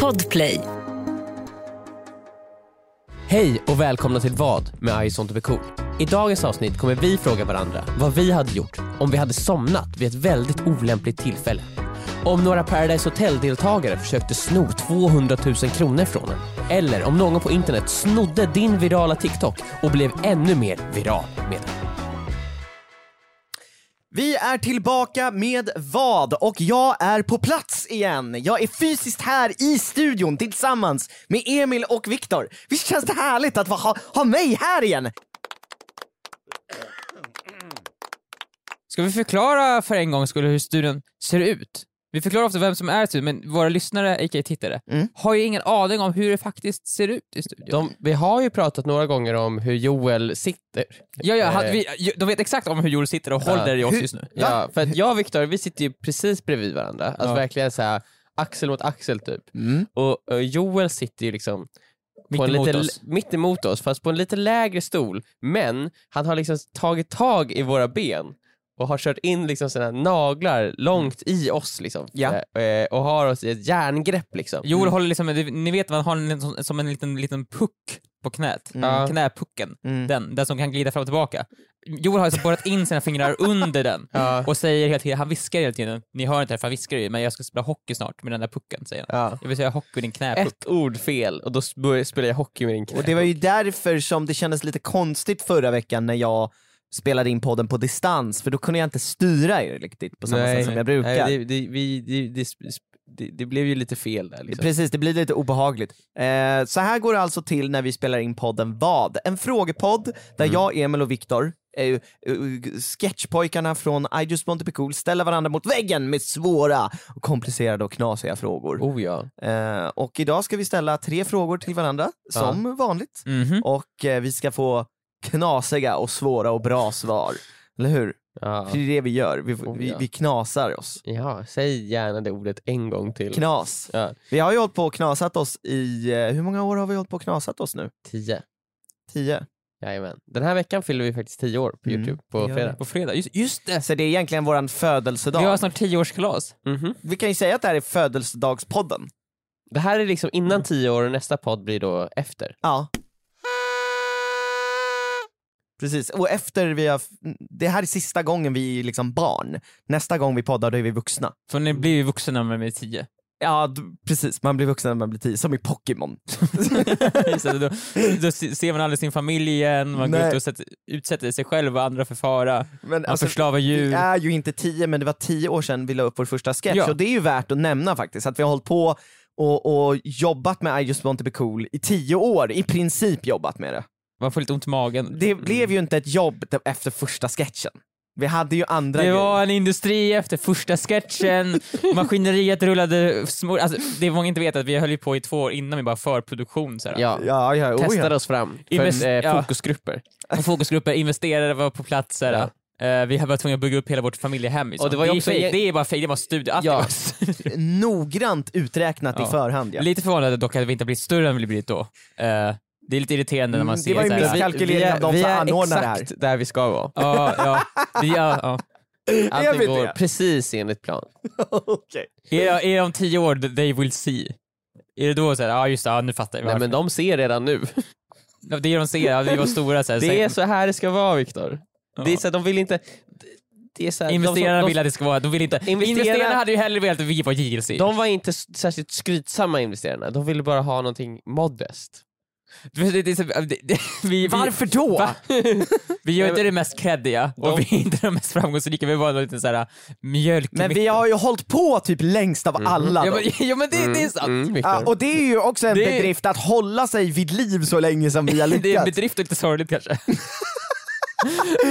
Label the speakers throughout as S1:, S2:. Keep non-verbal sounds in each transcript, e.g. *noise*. S1: Podplay.
S2: Hej och välkomna till Vad med I want to be cool. I dagens avsnitt kommer vi fråga varandra vad vi hade gjort om vi hade somnat vid ett väldigt olämpligt tillfälle. Om några Paradise Hotel-deltagare försökte sno 200 000 kronor från en. Eller om någon på internet snodde din virala TikTok och blev ännu mer viral med den.
S3: Vi är tillbaka med vad och jag är på plats igen. Jag är fysiskt här i studion tillsammans med Emil och Viktor. Visst känns det härligt att ha, ha mig här igen?
S4: Ska vi förklara för en gång skulle hur studion ser ut? Vi förklarar ofta vem som är i studion, men våra lyssnare, aka tittare,
S3: Mm.
S4: har ju ingen aning om hur det faktiskt ser ut i studion.
S2: De, vi har ju pratat några gånger om hur Joel sitter.
S4: ja, ja,
S2: Eh.
S4: han, vi, de vet exakt om hur Joel sitter och håller i oss just nu.
S2: Ja, för att jag och Viktor, vi sitter ju precis bredvid varandra. Alltså verkligen så här, axel mot axel typ.
S3: Mm.
S2: Och, eh, Joel sitter ju liksom
S4: Mitt
S2: på en
S4: emot
S2: lite,
S4: oss.
S2: mitt emot oss, fast på en lite lägre stol. Men han har liksom tagit tag i våra ben och har kört in liksom sina naglar långt i oss liksom.
S3: Ja.
S2: Eh, och har oss i ett järngrepp liksom.
S4: Joel håller liksom, ni vet vad han har en, som- som en liten, liten puck på knät.
S2: Mm.
S4: Knäpucken.
S3: Mm.
S4: Den, den som kan glida fram och tillbaka. Joel har alltså borrat in sina fingrar under den
S2: Ja.
S4: och säger hela tiden, han viskar hela tiden, ni hör inte det för han viskar ju, men jag ska spela hockey snart med den där pucken, säger han.
S2: Ja.
S4: Jag vill säga hockey med din knäpuck.
S2: Mm. Ett ord fel och då sp- spelar jag hockey med din knä.
S3: Och det var ju därför som det kändes lite konstigt förra veckan när jag spelade in podden på distans, för då kunde jag inte styra er riktigt på samma sätt som jag brukar.
S2: Nej, det, det, vi, det, det, sp- sp- det, det blev ju lite fel där liksom.
S3: Precis, det blir lite obehagligt. Eh, så här går det alltså till när vi spelar in podden Vad? En frågepodd där jag, Emil och Viktor, eh, eh, sketchpojkarna från I just want to be cool, ställer varandra mot väggen med svåra, och komplicerade och knasiga frågor.
S2: Oh ja.
S3: Eh, och idag ska vi ställa tre frågor till varandra, som vanligt.
S4: Mhm.
S3: Och eh, vi ska få knasiga och svåra och bra svar. Eller hur?
S2: Ja.
S3: För det är det vi gör, vi, vi,
S2: ja.
S3: vi knasar oss.
S2: ja, säg gärna det ordet en gång till.
S3: Knas.
S2: Ja.
S3: Vi har ju hållit på och knasat oss i, eh, hur många år har vi hållit på och knasat oss nu?
S2: Tio.
S3: Tio.
S2: Jajamän. Den här veckan fyller vi faktiskt tio år på
S3: Mm,
S2: Youtube
S3: det
S2: på
S3: gör
S2: fredag.
S4: På fredag, just, just det!
S3: Så Alltså, det är egentligen våran födelsedag.
S4: Vi har snart tioårskalas.
S2: Mhm.
S3: Vi kan ju säga att det här är födelsedagspodden.
S2: Det här är liksom innan tio år och nästa podd blir då efter.
S3: Ja. Precis, och efter vi har, det här är sista gången vi är liksom barn. Nästa gång vi poddar då är vi vuxna.
S4: För ni blir ju vuxna när ni är tio.
S3: Ja d- precis, man blir vuxen när man blir tio, som i Pokémon.
S4: Så då, då se- ser man aldrig sin familj igen, man går
S3: Nej.
S4: ut och sätter, utsätter sig själv och andra för fara, man
S3: Men alltså,
S4: förslavar
S3: vi
S4: djur.
S3: är ju inte tio men det var tio år sedan vi la upp vår första sketch
S4: Ja.
S3: och det är ju värt att nämna faktiskt att vi har hållit på och, och jobbat med I just want to be cool i tio år, i princip jobbat med det.
S4: Man får lite ont i magen. Mm.
S3: Det blev ju inte ett jobb te- efter första sketchen. Vi hade ju andra
S4: Det
S3: grejer.
S4: var en industri efter första sketchen, maskineriet rullade små, alltså, det är många inte vet att vi höll ju på i två år innan med bara förproduktion. Så här.
S2: Ja.
S3: Ja, ja, oh,
S2: Testade
S3: ja.
S2: oss fram för
S4: Invest-
S2: eh,
S4: ja.
S2: fokusgrupper.
S4: Och *laughs* Fokusgrupper, investerare var på plats. Så här. Eh, vi var tvungna att bygga upp hela vårt familjehem. Liksom.
S2: Och det var ju
S4: det, är
S2: också
S4: fake,
S2: en-
S4: det är bara fejk, det var studio. Allt
S2: Ja.
S4: det var studio.
S3: Noggrant uträknat i
S4: Ja.
S3: förhand. Ja.
S4: Lite förvånad dock att vi inte blivit större än vi blivit då. Eh, det är lite irriterande när man
S3: Mm, det
S4: ser
S3: var ju
S4: så här-
S3: miss- Kalkylering av de
S2: vi
S3: som
S2: är
S3: anordnar det här.
S2: exakt där vi ska vara.
S4: Ja, ja. Vi- ja, ja.
S3: Är vi
S2: Allting går
S3: det? *laughs*
S2: precis enligt plan.
S3: Okej.
S4: Är, det- är det om tio år th- they will see? Är det då såhär, ja ah, just det, ja, nu fattar jag.
S2: Nej, men de ser redan nu.
S4: varför. Det är de ser, ja, vi var stora såhär.
S2: Det är så här det ska vara Viktor. Det är så här, de vill inte... Det är så här, de som-
S4: investerarna
S2: de,
S4: vill att det ska vara, de vill inte.
S2: Investerarna-
S4: Investerarna, hade ju hellre velat att vi var JLC.
S2: de var inte s- särskilt skrytsamma investerarna, de ville bara ha någonting modest.
S4: Det- det- det- det- det- vi- vi-
S3: Varför då?
S4: Va? Vi gör inte det mest creddiga och vi är inte de mest framgångsrika, vi var en liten såhär ah, mjölk...
S3: Men vi har ju hållit på typ längst av alla.
S4: Mm.
S3: då.
S4: Ja men, *laughs* ja, men det, det är sant.
S2: Mm, Viktor.
S3: Ja, och det är ju också en
S4: Det är-
S3: bedrift att hålla sig vid liv så länge som vi har lyckats.
S4: *laughs* Det är en bedrift och lite sorgligt
S3: *laughs*
S4: kanske.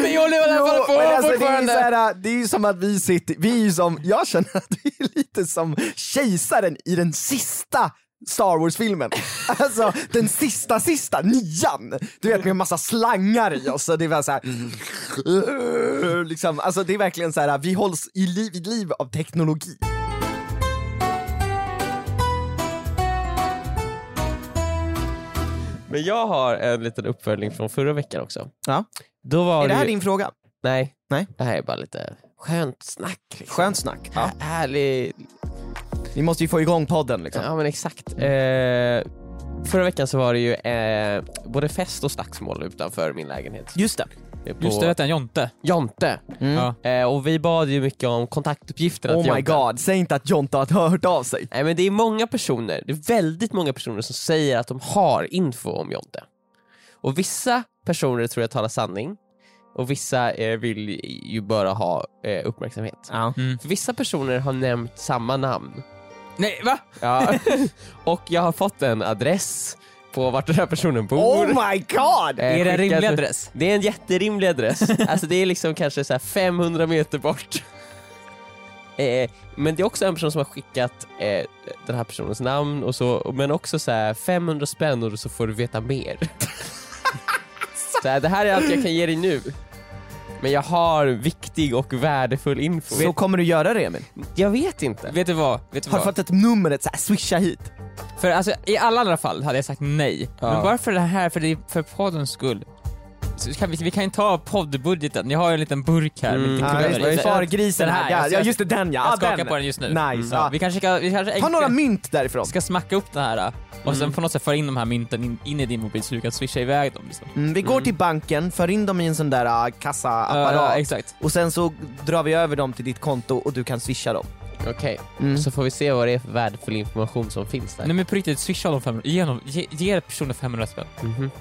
S4: men jag håller i alla fall på
S3: Jo, men alltså, det, är ju
S4: fortfarande.
S3: såhär, det är ju som att vi sitter, vi är ju som, jag känner att vi är lite som kejsaren i den sista Star Wars-filmen. Alltså den sista, sista, nian. Du vet med en massa slangar i oss. Och det var så här, liksom, alltså, det är verkligen så här, vi hålls i liv, vid liv av teknologi.
S2: Men jag har en liten uppföljning från förra veckan också.
S3: Ja.
S2: Då var
S3: Är det här
S2: ju...
S3: din fråga?
S2: Nej.
S3: Nej.
S2: Det här är bara lite skönt snack. Liksom.
S3: Skönt snack.
S2: Hä- Härlig...
S3: Vi måste ju få igång podden liksom.
S2: Ja men exakt. Eh, förra veckan så var det ju eh, både fest och slagsmål utanför min lägenhet.
S4: Just det.
S2: Eh, På
S4: Just det, vet du, en Jonte.
S2: Jonte.
S3: Mm.
S4: Ja.
S2: Eh, och vi bad ju mycket om kontaktuppgifterna till
S3: Oh my
S2: Jonte.
S3: god, säg inte att Jonte har hört av sig.
S2: Nej men det är många personer, det är väldigt många personer som säger att de har info om Jonte. Och vissa personer tror jag talar sanning och vissa eh, vill ju bara ha eh, uppmärksamhet.
S3: Ja.
S4: Mm.
S2: För vissa personer har nämnt samma namn.
S4: Nej, va?
S2: Ja. *laughs* och jag har fått en adress på vart den här personen bor.
S3: Oh my god!
S2: Eh,
S4: är det
S2: skickad-
S4: en rimlig adress?
S2: Det är en jätterimlig adress. *laughs* alltså det är liksom kanske så här 500 meter bort. *laughs* Eh, men det är också en person som har skickat eh, den här personens namn och så, men också så här 500 spänn och så får du veta mer. *laughs* så här, det här är allt jag kan ge dig nu. Men jag har viktig och värdefull info.
S3: Så kommer du göra det Emil?
S2: jag vet inte.
S4: Vet du vad? Vet du
S3: Har
S4: vad?
S3: du fått ett nummer, ett så här, swisha hit?
S4: För alltså, i alla andra fall hade jag sagt nej.
S2: Ja.
S4: Men bara för det här, för, det, för poddens skull. Så kan vi, vi kan ju ta poddbudgeten, jag har ju en liten burk här
S2: Mm.
S4: med lite
S2: Ja,
S4: kulör
S2: just
S4: i.
S2: det.
S3: Fargrisen
S4: Den
S3: här,
S4: här,
S3: ja,
S4: jag ska-
S3: ja just det den ja.
S4: Jag
S3: ja
S4: skakar
S3: den.
S4: på den just nu.
S3: Nice.
S4: Ja,
S3: Ja.
S4: vi kanske ska, vi kanske
S3: Ta
S4: enkelt
S3: några mynt Mm. därifrån.
S4: ska smacka upp den här och sen på något sätt föra in de här mynten in, in i din mobil så du kan swisha iväg dem. Liksom.
S3: Mm, vi går till banken, för in dem i en sån där ah,
S4: Ja,
S3: kassaapparat
S4: exakt.
S3: och sen så drar vi över dem till ditt konto och du kan swisha dem.
S2: Okej,
S3: Mm.
S2: så får vi se vad det är för värdefull information som finns där.
S4: Nej men på riktigt, swisha dem 500, ge, dem- ge, ge personen 500 spänn.
S2: Mhm.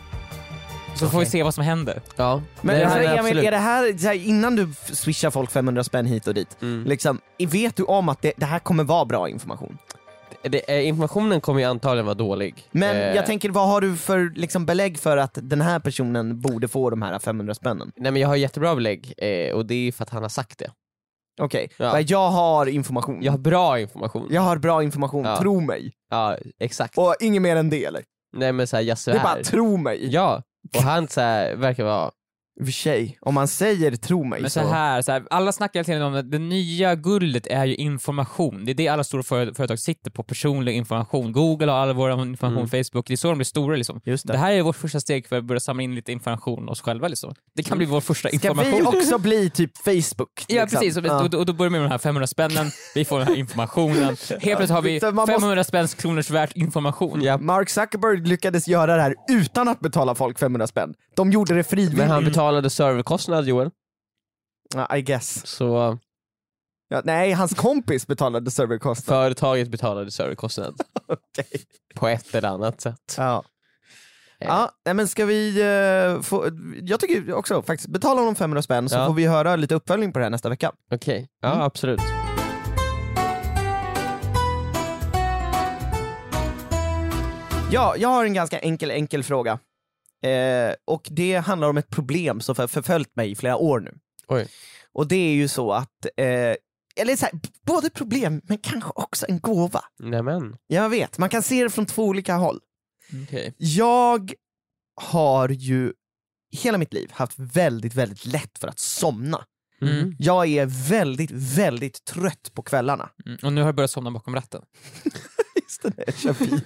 S4: Så får vi se vad som händer.
S2: Ja,
S3: Men
S2: det
S3: alltså,
S2: här är
S3: Emil,
S2: absolut.
S3: är det här, så här, innan du f- swishar folk 500 spänn hit och dit,
S2: Mm.
S3: liksom, vet du om att det, det här kommer vara bra information?
S2: Det, eh, informationen kommer ju antagligen vara dålig.
S3: Men
S2: Eh,
S3: jag tänker, vad har du för liksom, belägg för att den här personen borde få de här 500 spännen?
S2: Nej men jag har jättebra belägg eh, och det är för att han har sagt det.
S3: Okej,
S2: Ja.
S3: men jag har information.
S2: Jag har bra information. Ja,
S3: Jag har bra information,
S2: Ja.
S3: tro mig.
S2: exakt.
S3: Och inget mer än det eller?
S2: Nej men såhär, jag svär.
S3: Det är bara tro mig.
S2: Ja, och han så här, verkar vara...
S3: I och för sig, om man säger tro mig
S4: Men så här, så här, alla snackar hela tiden om att det nya guldet är ju information. Det är det alla stora före- företag sitter på, personlig information. Google har all vår information,
S3: Mm.
S4: Facebook, det är så de blir stora liksom.
S3: Just
S4: Det här är vårt första steg för att börja samla in lite information om oss själva liksom. Det kan bli vår första
S3: Ska
S4: information.
S3: vi också bli typ Facebook?
S4: Ja
S3: liksom?
S4: precis, och
S3: Ja.
S4: då, då, då börjar vi med de här 500 spännen, vi får den
S3: *laughs*
S4: här informationen, helt plötsligt har vi
S3: Man måste-
S4: 500 spänns kronors värt information.
S3: Mark Zuckerberg lyckades göra det här utan att betala folk 500 spänn. De gjorde det frivilligt.
S2: Men han betalade serverkostnad Joel,
S3: Ja, I guess.
S2: så
S3: Ja, nej, hans kompis betalade serverkostnaden.
S2: företaget betalade serverkostnad.
S3: *laughs* Okej.
S2: På ett eller annat sätt.
S3: Ja.
S4: Eh.
S3: Ja, nej men ska vi eh, få, jag tycker också faktiskt, betala honom 500 spänn så
S2: Ja.
S3: får vi höra lite uppföljning på det här nästa vecka.
S2: Okej, ja
S3: Mm.
S2: absolut.
S3: Ja, jag har en ganska enkel, enkel fråga. Eh, och det handlar om ett problem som har förföljt mig i flera år nu.
S2: Oj.
S3: Och det är ju så att, eh, eller så här, b- både problem men kanske också en gåva. *laughs*
S2: Nämen.
S3: Jag vet, man kan se det från två olika håll.
S4: Okej.
S3: Jag har ju hela mitt liv haft väldigt, väldigt lätt för att somna.
S2: Mm.
S4: Mm.
S3: Jag är väldigt, väldigt trött på kvällarna.
S4: Mm. Och nu har jag börjat somna bakom ratten.
S3: Just det, jag kör bil.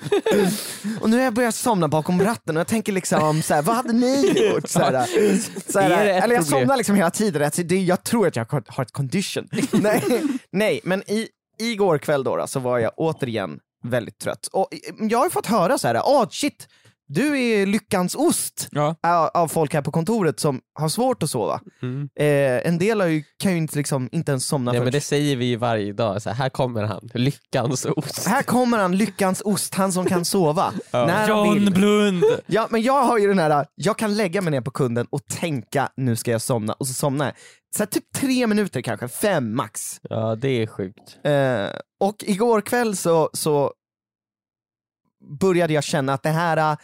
S3: och nu har jag börjat somna bakom ratten och jag tänker liksom, så här, vad hade ni gjort? Så här, så
S2: Det
S3: här,
S2: är ett
S3: eller jag
S2: problem.
S3: somnar liksom hela tiden, alltså, det, jag tror att jag har- har
S2: *laughs*
S3: ett condition. nej, nej, men i, igår kväll då, då så var jag återigen väldigt trött. Och eh, jag har ju fått höra så här, ah shit, du är lyckans ost
S4: Ja.
S3: av, av folk här på kontoret som har svårt att sova.
S2: Mm.
S3: Eh, en del har ju, kan ju inte, liksom, inte ens somna
S2: Nej
S3: förrän
S2: men det säger vi ju varje dag, så här, här kommer han, lyckans ost.
S3: Här kommer han, lyckans ost, han som kan sova. När han
S4: John
S3: vill.
S4: Blund!
S3: Ja, men jag har ju den här, jag kan lägga mig ner på kunden och tänka nu ska jag somna och så somnar jag. Så här, typ tre minuter kanske, fem max.
S2: *laughs* Ja det är sjukt.
S3: Eh, och igår kväll så, så började jag känna att det här eh,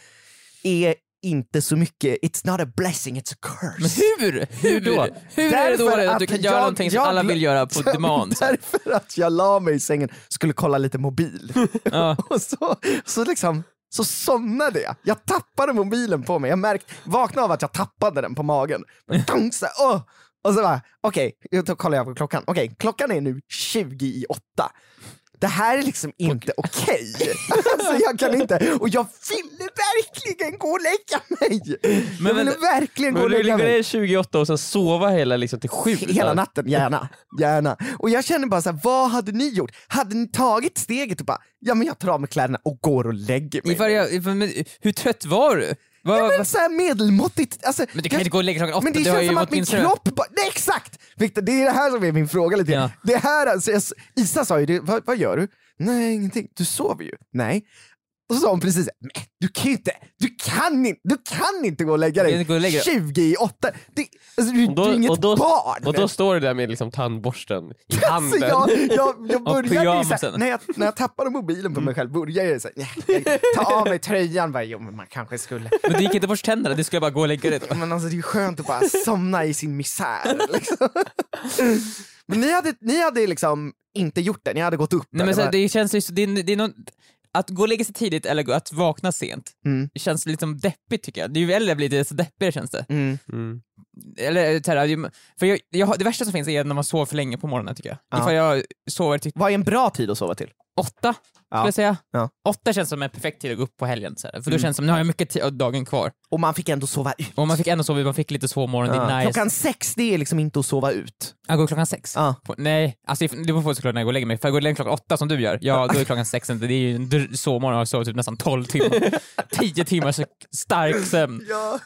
S3: är inte så mycket, it's not a blessing, it's a
S4: Men
S3: curse. *laughs*
S4: hur? Hur då? Hur är det
S3: Därför
S4: då att
S3: att
S4: du kan
S3: jag-
S4: göra någonting som
S3: jag-
S4: alla vill göra på demand? så här?
S3: *laughs* Därför att jag la mig i sängen, skulle kolla lite mobil.
S4: Ja.
S3: *laughs* Och så, så liksom så somnade jag. Jag tappade mobilen på mig. Jag märkte, vaknade av att jag tappade den på magen.
S2: Mm.
S3: Men dong, så, här, åh! Och så bara, okej, då kollar jag på klockan. Okej, klockan är nu 20 i åtta. det här är liksom inte okej. *laughs* alltså jag kan inte, och jag ville verkligen gå och lägga mig. jag
S2: Men-
S3: ville verkligen gå
S2: Men
S3: och
S2: du vill
S3: lägga
S2: gå
S3: mig.
S2: ner 28 och sen sova hela liksom till sju?
S3: Hela natten, gärna. gärna. Och jag känner bara så här, vad hade ni gjort? Hade ni tagit steget och bara, ja men jag tar av mig kläderna och går och lägger mig.
S4: Ifall jag, ifall, men, hur trött var du? Vad-
S3: Ja, men
S4: vad-
S3: så här medelmåttigt. Alltså,
S4: men du kan
S3: jag-
S4: inte gå och lägga klockan åtta,
S3: men det
S4: du har
S3: känns
S4: ju
S3: som att min
S4: åtminstone-
S3: kropp bara, nej exakt! Victor, det är det här som är min fråga lite grann. Det här, alltså, jag, Isa sa ju, det, vad, vad gör du? Nej, ingenting. Du sover ju. Nej. Och så sa hon precis, "Men du kan ju inte, du kan inte, du kan inte gå och lägga
S4: kan
S3: dig
S4: inte gå och lägga dig.
S3: 20 i 8. Det, alltså, du,
S2: Och
S3: du
S2: då,
S3: är inget
S2: och, då,
S3: barn!
S2: och då står du där med liksom tandborsten i
S3: Alltså
S2: handen.
S3: jag, jag, jag började ju såhär,
S4: pyjamasen.
S3: när jag, när jag tappade mobilen på mig själv började jag såhär, "Nej, ta av mig tröjan, bara, jo men man kanske skulle.
S4: Men du gick inte bort tänderna, du skulle bara gå och lägga dig.
S3: Ja, Men alltså det är ju skönt att bara somna i sin misär. Liksom. Men ni hade, ni hade liksom inte gjort det, ni hade gått upp.
S4: Nej,
S3: eller
S4: men så,
S3: vad?
S4: det känns ju, så- det, är- det är någon, att gå och lägga sig tidigt eller gå- att vakna sent,
S3: Mm.
S4: det känns liksom deppigt tycker jag. Det är ju eller blir det så deppigare känns det.
S3: Mm.
S2: Mm.
S4: Eller, så här, det- för jag, jag, har- det värsta som finns är när man sover för länge på morgonen tycker jag.
S3: Ja.
S4: Ifall jag sover till
S3: Vad är en bra tid att sova till?
S4: åtta, skulle jag säga.
S3: Ja. Mm.
S4: Åtta känns som en perfekt tid att gå upp på helgen, så här. för då känns det som nu har jag mycket tid av dagen kvar.
S3: Och man fick ändå sova ut.
S4: Och man fick ändå sova, man fick lite sovmorgon, det
S3: Ja.
S4: är nice.
S3: Klockan sex, det är liksom inte att sova ut.
S4: Jag Äh, går klockan sex.
S3: Ja.
S4: På, nej, alltså if- det beror på såklart när jag går och lägger mig. För jag går och lägger mig klockan åtta som du gör, ja då är klockan sex inte. Det är ju en dr- sovmorgon, jag har sovit typ nästan tolv
S3: *laughs*
S4: timmar. Tio timmars stark sömn.
S3: Ja.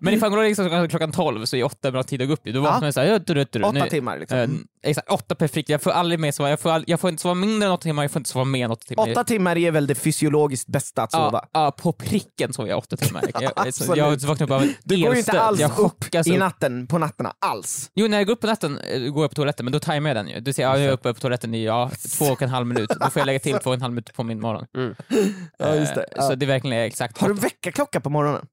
S4: Men ifall jag går och lägger mig klockan- klockan tolv så är åtta bra tid att gå upp i. Då vaknar jag såhär... ja, dru- dru-
S3: Åtta
S4: nu-
S3: timmar liksom.
S4: Eh, exakt, åtta perfekt. Jag får aldrig mer sova. Jag får, all, jag får inte sova mindre än åtta timmar, jag får inte sova mer än åtta timmar.
S3: Åtta timmar är väl det fysiologiskt bästa att sova.
S4: Ja, ja, på pricken sov jag
S3: *laughs*
S4: åtta timmar. Jag, jag, jag
S3: Absolut.
S4: vaknade upp av en
S3: Du går ju inte
S4: elstöt.
S3: alls
S4: jag
S3: upp
S4: chockas
S3: i natten, på nätterna alls.
S4: Jo, när jag går upp på natten eh, går jag på toaletten, men då tajmar jag den ju. Du ser, ja, jag är uppe på toaletten
S3: *laughs*
S4: i ja, två och en halv minut. Då får jag lägga till två och en halv minut på min morgon.
S3: Ja, just det.
S4: Eh,
S3: Ja.
S4: Så det är verkligen exakt.
S3: Har du väckarklocka på morgonen?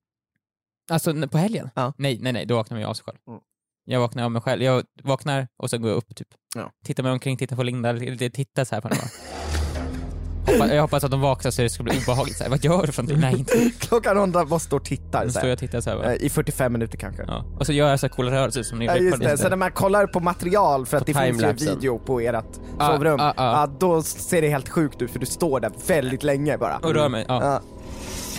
S4: Alltså n- på helgen?
S3: Ja.
S4: Nej, nej, nej, då vaknar jag av sig själv.
S3: Mm.
S4: Jag vaknar av mig själv. Jag vaknar och sen går jag upp typ.
S3: Ja.
S4: Tittar mig omkring, tittar på Linda, lite tittar så här på henne bara. Hoppa, jag hoppas att de vaknar så det ska bli obehagligt. Så här, vad gör du för någonting? Nej, inte.
S3: Klockan hundra, vad står och tittar? så
S4: Nu står
S3: här.
S4: jag och tittar så här bara.
S3: Eh, I 45 minuter kanske.
S4: Ja. Och så gör jag så här coola rörelser som ni
S3: Ja,
S4: vet på
S3: just det.
S4: Insta.
S3: Så när man kollar på material för att det finns ju
S2: timelapsen.
S3: video på ert
S4: Ah,
S3: sovrum,
S4: ah, ah.
S3: Ja, då ser det helt sjukt ut för du står där väldigt länge bara.
S4: Och rör mig. Ja.
S3: Ja.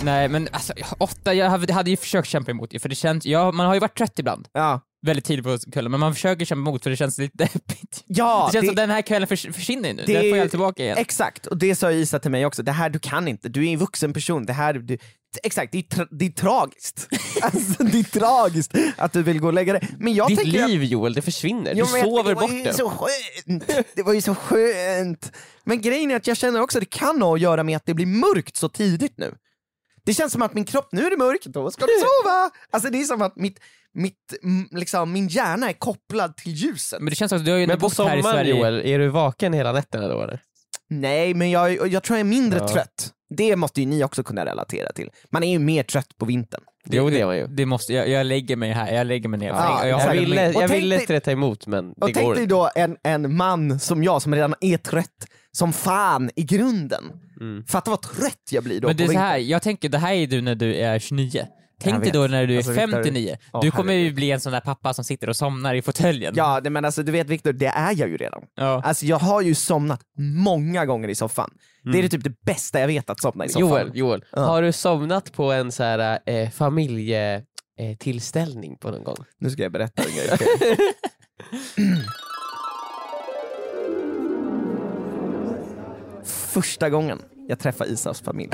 S4: Nej men alltså, åtta, jag hade, hade ju försökt kämpa emot det, för det känns, ja, man har ju varit trött ibland,
S3: Ja,
S4: väldigt tidigt på kvällen, men man försöker kämpa emot för det känns lite *laughs* deppigt.
S3: ja
S4: det känns
S3: det-
S4: som den här kvällen förs- försvinner ju nu,
S3: det
S4: den
S3: är
S4: får
S3: ju-
S4: jag tillbaka igen.
S3: exakt, och det sa ju Isa till mig också, det här du kan inte, du är en vuxen person, det här, du, exakt, det är, tra- det är tragiskt. *laughs* alltså, det är tragiskt att du vill gå och lägga dig. Men jag
S2: Ditt
S3: tänker att-
S2: liv Joel, det försvinner.
S3: Jo,
S2: du
S3: men jag-
S2: sover bort
S3: Det var ju
S2: det.
S3: så skönt! Det var ju så skönt! Men grejen är att jag känner också att det kan ha att göra med att det blir mörkt så tidigt nu. Det känns som att min kropp, nu är det mörkt, då ska du sova! Alltså det är som att mitt, mitt, mm, liksom, min hjärna är kopplad till ljuset.
S4: Men det känns också, du har ju
S2: Men
S4: inte
S2: på
S4: bott här i
S2: sommaren
S4: Sverige.
S2: Joel, är du vaken hela nätterna då eller?
S3: Nej, men jag, jag tror jag är mindre
S2: Ja.
S3: trött. Det måste ju ni också kunna relatera till. Man är ju mer trött på vintern.
S2: Det, det är man ju.
S4: Det måste, jag, jag lägger mig här, jag lägger mig ner.
S3: Ja,
S4: jag,
S2: Jag
S3: exakt.
S4: har,
S2: ville,
S3: Och
S2: jag
S3: tänk
S2: ville
S3: dig-
S2: streta emot men
S3: Och
S2: det
S3: tänk
S2: går
S3: dig
S2: inte.
S3: då en, en man som jag som redan är trött som fan i grunden. Fatta vad trött jag blir då
S4: men det
S3: på
S4: är så
S3: vintern.
S4: här, jag tänker, det här är du när du är 29.
S3: Jag
S4: Tänk dig
S3: vet.
S4: då när du är
S3: Alltså, Victor-
S4: 59.
S3: Ja,
S4: du kommer ju
S3: herregud.
S4: bli en sån där pappa som sitter och somnar i fåtöljen.
S3: Ja, nej, men alltså du vet Viktor, det är jag ju redan.
S4: Ja.
S3: Alltså jag har ju somnat många gånger i soffan. Det är det typ det bästa jag vet att somna i soffan.
S2: Joel, Joel har du somnat på en så här, eh, familje eh, tillställning på någon gång?
S3: Nu ska jag berätta en grej. Första gången jag träffade Isas familj,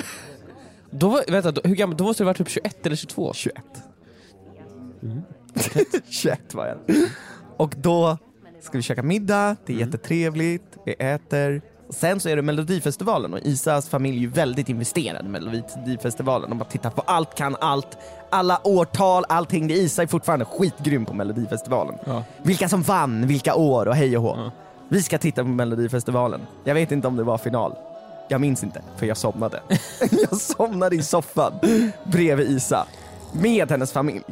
S2: Då, var- vänta, då, hur gammal, då måste du ha varit typ 21 eller 22?
S3: 21. *laughs* 21 var jag. Och då ska vi käka middag, det är jättetrevligt, vi äter. Och Sen så är det Melodifestivalen och Isas familj är ju väldigt investerad i Melodifestivalen. De bara tittar på allt, kan allt, alla årtal, allting. Det är Isa är fortfarande skitgrym på Melodifestivalen.
S4: Ja.
S3: Vilka som vann, vilka år och hej och hå. Vi ska titta på Melodifestivalen. Jag vet inte om det var final. Jag minns inte, för jag somnade. jag somnade i soffan bredvid Isa, med hennes familj.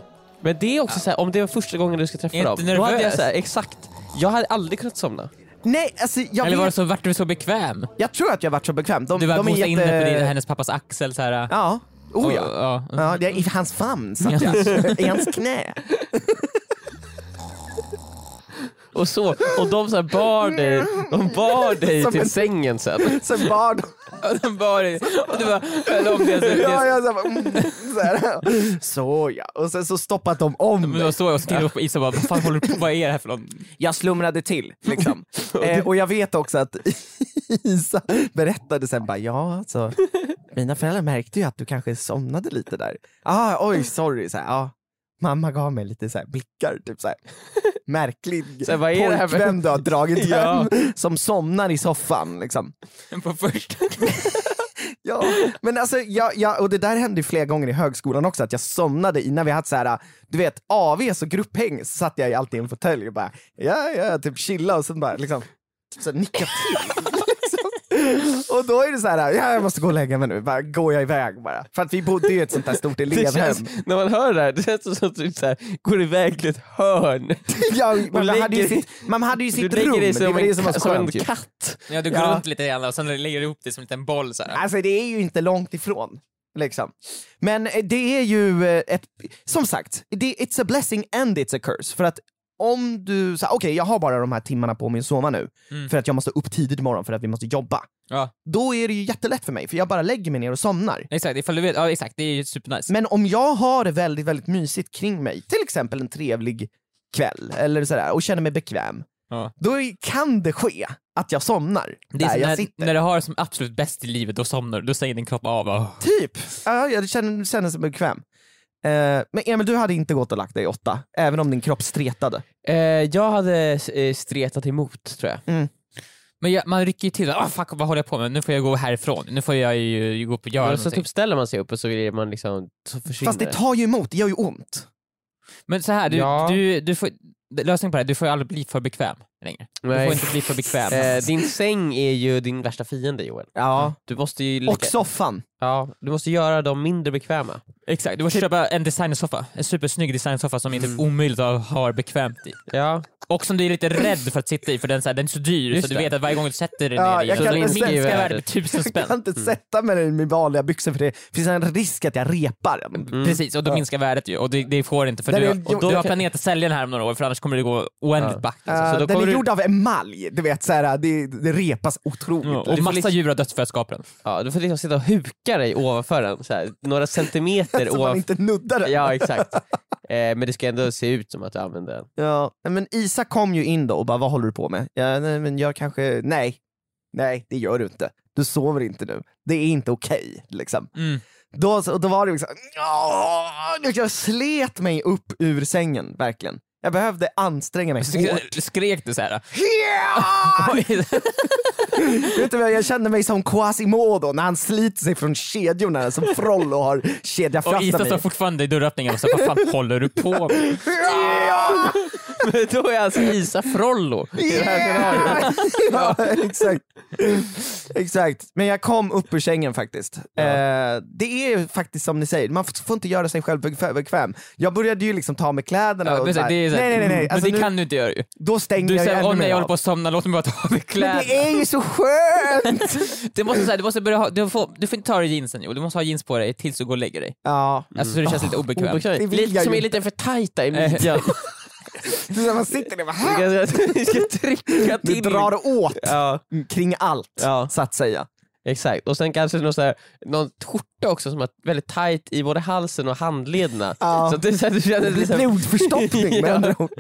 S2: Men det är också så här, om det var första gången du ska träffa
S4: Är
S2: dem.
S4: inte
S2: Då hade jag
S4: nervös?
S2: så här, exakt. Jag hade aldrig kunnat somna.
S3: Nej, alltså jag,
S4: Eller
S3: vet,
S4: var det så, vart du så bekväm?
S3: jag tror att jag varit så bekväm. De,
S4: Du var
S3: de
S4: mosade
S3: är
S4: in dig på din,
S3: jätte...
S4: hennes pappas axel så här.
S3: Ja, oh ja.
S4: Och- ja.
S3: Ja, det är i hans famn satt jag, i hans knä.
S2: och så. Och de så här bar dig, de *laughs* bar
S4: *laughs*
S2: dig
S3: Som
S2: till
S3: en-
S2: sängen *laughs* sen.
S3: Sen bar de...
S4: De bara, och du bara höll om det. Så, det
S3: Ja, jag så, här, bara, mm, så, här. så ja. Och sen så stoppat de om
S4: Men då står jag och stirrar upp på Isa och bara, vad fan håller du på Vad är det här för någon?
S3: jag slumrade till.
S2: *laughs*
S3: Liksom. eh, och jag vet också att *laughs* Isa berättade sen bara, ja alltså, mina föräldrar märkte ju att du kanske somnade lite där. Ah, oj, sorry. Så här, ah. Mamma gav mig lite så här blickar, typ så här. märklig
S2: Så här, vad är det här för-
S3: pojkvän du har dragit
S2: *laughs* Ja.
S3: hem som somnar i soffan. Liksom.
S4: På första
S3: Ja, men alltså, jag, jag, och det där hände ju flera gånger i högskolan också, att jag somnade innan vi hade så här, du vet, AVs och grupphäng, så satt jag alltid i en fåtölj och bara, ja, ja, typ chilla och sen bara liksom, typ så här, nicka till. *laughs* liksom. Och då är det så här, ja, jag måste gå och lägga mig nu, bara går jag iväg bara. För att vi bodde ju i ett sånt där stort
S2: Det
S3: elevhem.
S2: känns, när man hör det här, det känns som att du så här, går iväg till ett hörn.
S3: Jag, man,
S2: lägger
S3: hade ju
S2: dig-
S3: sitt, man hade ju
S2: Du
S3: sitt rum,
S2: lägger dig
S3: det är
S2: som
S3: väl det
S2: en,
S3: som var
S2: ka-
S3: så
S2: som en
S3: skönt ju.
S2: katt.
S4: Ja, du går
S3: Ja.
S4: runt lite grann och sen lägger du ihop dig som en liten boll så här.
S3: Alltså det är ju inte långt ifrån. Liksom. Men eh, det är ju eh, ett, som sagt, det, it's a blessing and it's a curse. För att om du, så här, okej jag har bara de här timmarna på mig att sova nu,
S4: Mm.
S3: för att jag måste upp tidigt imorgon för att vi måste jobba.
S4: Ja.
S3: Då är det ju jättelätt för mig, för jag bara lägger mig ner och somnar.
S4: Exakt, ifall du vet, ja exakt, det är ju supernice.
S3: Men om jag har det väldigt, väldigt mysigt kring mig, till exempel en trevlig kväll eller sådär, och känner mig bekväm,
S4: Ja.
S3: då är- kan det ske att jag somnar
S4: Det är
S3: där
S4: som
S3: jag
S4: när,
S3: sitter.
S4: när du har det som absolut bäst i livet, då somnar du, då säger din kropp "Ah, av. "Åh."
S3: Typ. Ja, jag känner, känner mig bekväm. Eh, men Emil, du hade inte gått och lagt dig åtta, även om din kropp stretade.
S2: Eh, jag hade eh, stretat emot tror jag.
S4: Men jag, man rycker ju till, oh, fuck vad håller jag på med, nu får jag gå härifrån, nu får jag ju ju gå upp och göra
S2: Ja, så
S4: någonting.
S2: typ ställer man sig upp och så, är man liksom, så försvinner
S3: Fast det tar ju emot, det gör ju ont.
S4: Men så här, du,
S2: Ja.
S4: du, du får, lösningen på det här, du får ju aldrig bli för bekväm längre. Du
S2: Nej.
S4: får inte bli för bekväm.
S2: Eh, din säng är ju din värsta fiende Joel.
S3: Ja.
S2: Du måste ju
S3: Och soffan.
S2: ja, du måste göra dem mindre bekväma.
S4: Exakt, du
S2: typ-
S4: måste köpa en designersoffa, en supersnygg designersoffa som är
S2: Mm.
S4: typ omöjligt att ha bekvämt i.
S2: Ja.
S4: Och som du är lite rädd för att sitta i för den, så här, den är så dyr
S2: Just
S4: så du
S2: det.
S4: vet att varje gång du sätter dig
S3: Ja,
S4: ner i
S3: jag
S4: den
S3: kan
S4: så
S3: inte
S4: minskar ju
S3: svenska
S4: värdet med
S2: värdet.
S4: tusen
S3: Jag
S4: spänn.
S3: kan
S2: Mm.
S3: inte sätta mig i min vanliga byxor för det finns en risk att jag repar
S2: Mm.
S3: den.
S4: Precis, och då minskar värdet ju och det, det får det inte för
S3: Den
S4: du,
S3: är-
S4: och
S3: jo,
S4: du har
S3: jag kan-
S4: planerat att sälja den här om några år för annars kommer det gå oändligt
S2: Ja.
S4: back. Alltså.
S3: Eh,
S2: så då
S3: den är
S2: kommer du-
S3: gjord av emalj, du vet, så här, det, det repas otroligt.
S4: Ja,
S3: lätt.
S4: Mm, Och massa djur har dött för att skapa den.
S2: Ja, du får liksom sitta och huka dig ovanför den, så här, några centimeter
S3: *laughs* så man
S2: ovanför.
S3: inte nuddar den.
S2: Ja exakt. Eh, men det ska ändå se ut som att du använder den.
S3: Ja, nej, men Isa kom ju in då och bara, vad håller du på med? Ja, nej, men jag kanske, nej, nej det gör du inte. Du sover inte nu. Det är inte okej. liksom.
S4: Mm.
S3: då, så- då var det liksom, "Åh!" Du vet, jag slet mig upp ur sängen verkligen. Jag behövde anstränga mig hårt.
S4: Sk- Skrek du såhär?
S3: Ja!
S4: *laughs*
S3: Vet du vad, jag kände mig som Quasimodo när han sliter sig från kedjorna som Frollo har kedja
S4: Och
S3: fast
S4: Isa
S3: mig.
S4: står fortfarande i dörröppningen och så vad fan håller du på med?
S3: Ja!
S2: Men *laughs* då är alltså Isa Frollo.
S3: Yeah! *laughs* ja, exakt. exakt. Men jag kom upp ur sängen faktiskt. Eh, det är ju faktiskt som ni säger, man får, får inte göra sig själv bekvä- bekväm. Jag började ju liksom ta med kläderna
S4: Ja,
S3: och
S4: men så
S3: så
S4: här,
S3: här,
S4: det är så här, Mm,
S3: nej nej nej, nej. Alltså,
S4: men det
S3: nu,
S4: kan du inte göra ju.
S3: då stänger
S4: Du
S3: jag ju
S4: säger
S3: ännu
S4: åh nej
S3: mer
S4: jag håller
S3: av."
S4: på att somna, låt mig bara ta av mig
S3: Men *laughs*
S4: kläderna.
S3: det är ju så
S4: *laughs*
S3: skönt!
S4: Du måste, så här, du måste börja ha, du, får, du får inte ta av dig jeansen Joel, du måste ha jeans på dig tills du går och lägger dig.
S3: ja,
S4: Alltså så det känns lite obekvämt.
S2: Obekvämt.
S3: Det vill
S2: Lite,
S3: jag
S2: som
S3: ju
S2: är lite för tajta
S3: *laughs*
S2: i midjan.
S3: det är när man sitter där och
S2: Du
S3: bara,
S2: ska,
S3: *laughs*
S2: du ska trycka
S3: du
S2: till.
S3: drar åt
S2: Ja,
S3: kring allt,
S2: Ja.
S3: så att säga.
S2: exakt. Och sen kanske någon, så här, någon skjorta också som är väldigt tajt i både halsen och handlederna.
S3: Ja.
S2: Så att det, är så här, du känner
S3: Det blir
S2: liksom,
S3: *laughs* blodförstoppning med
S2: Ja.
S3: andra ord.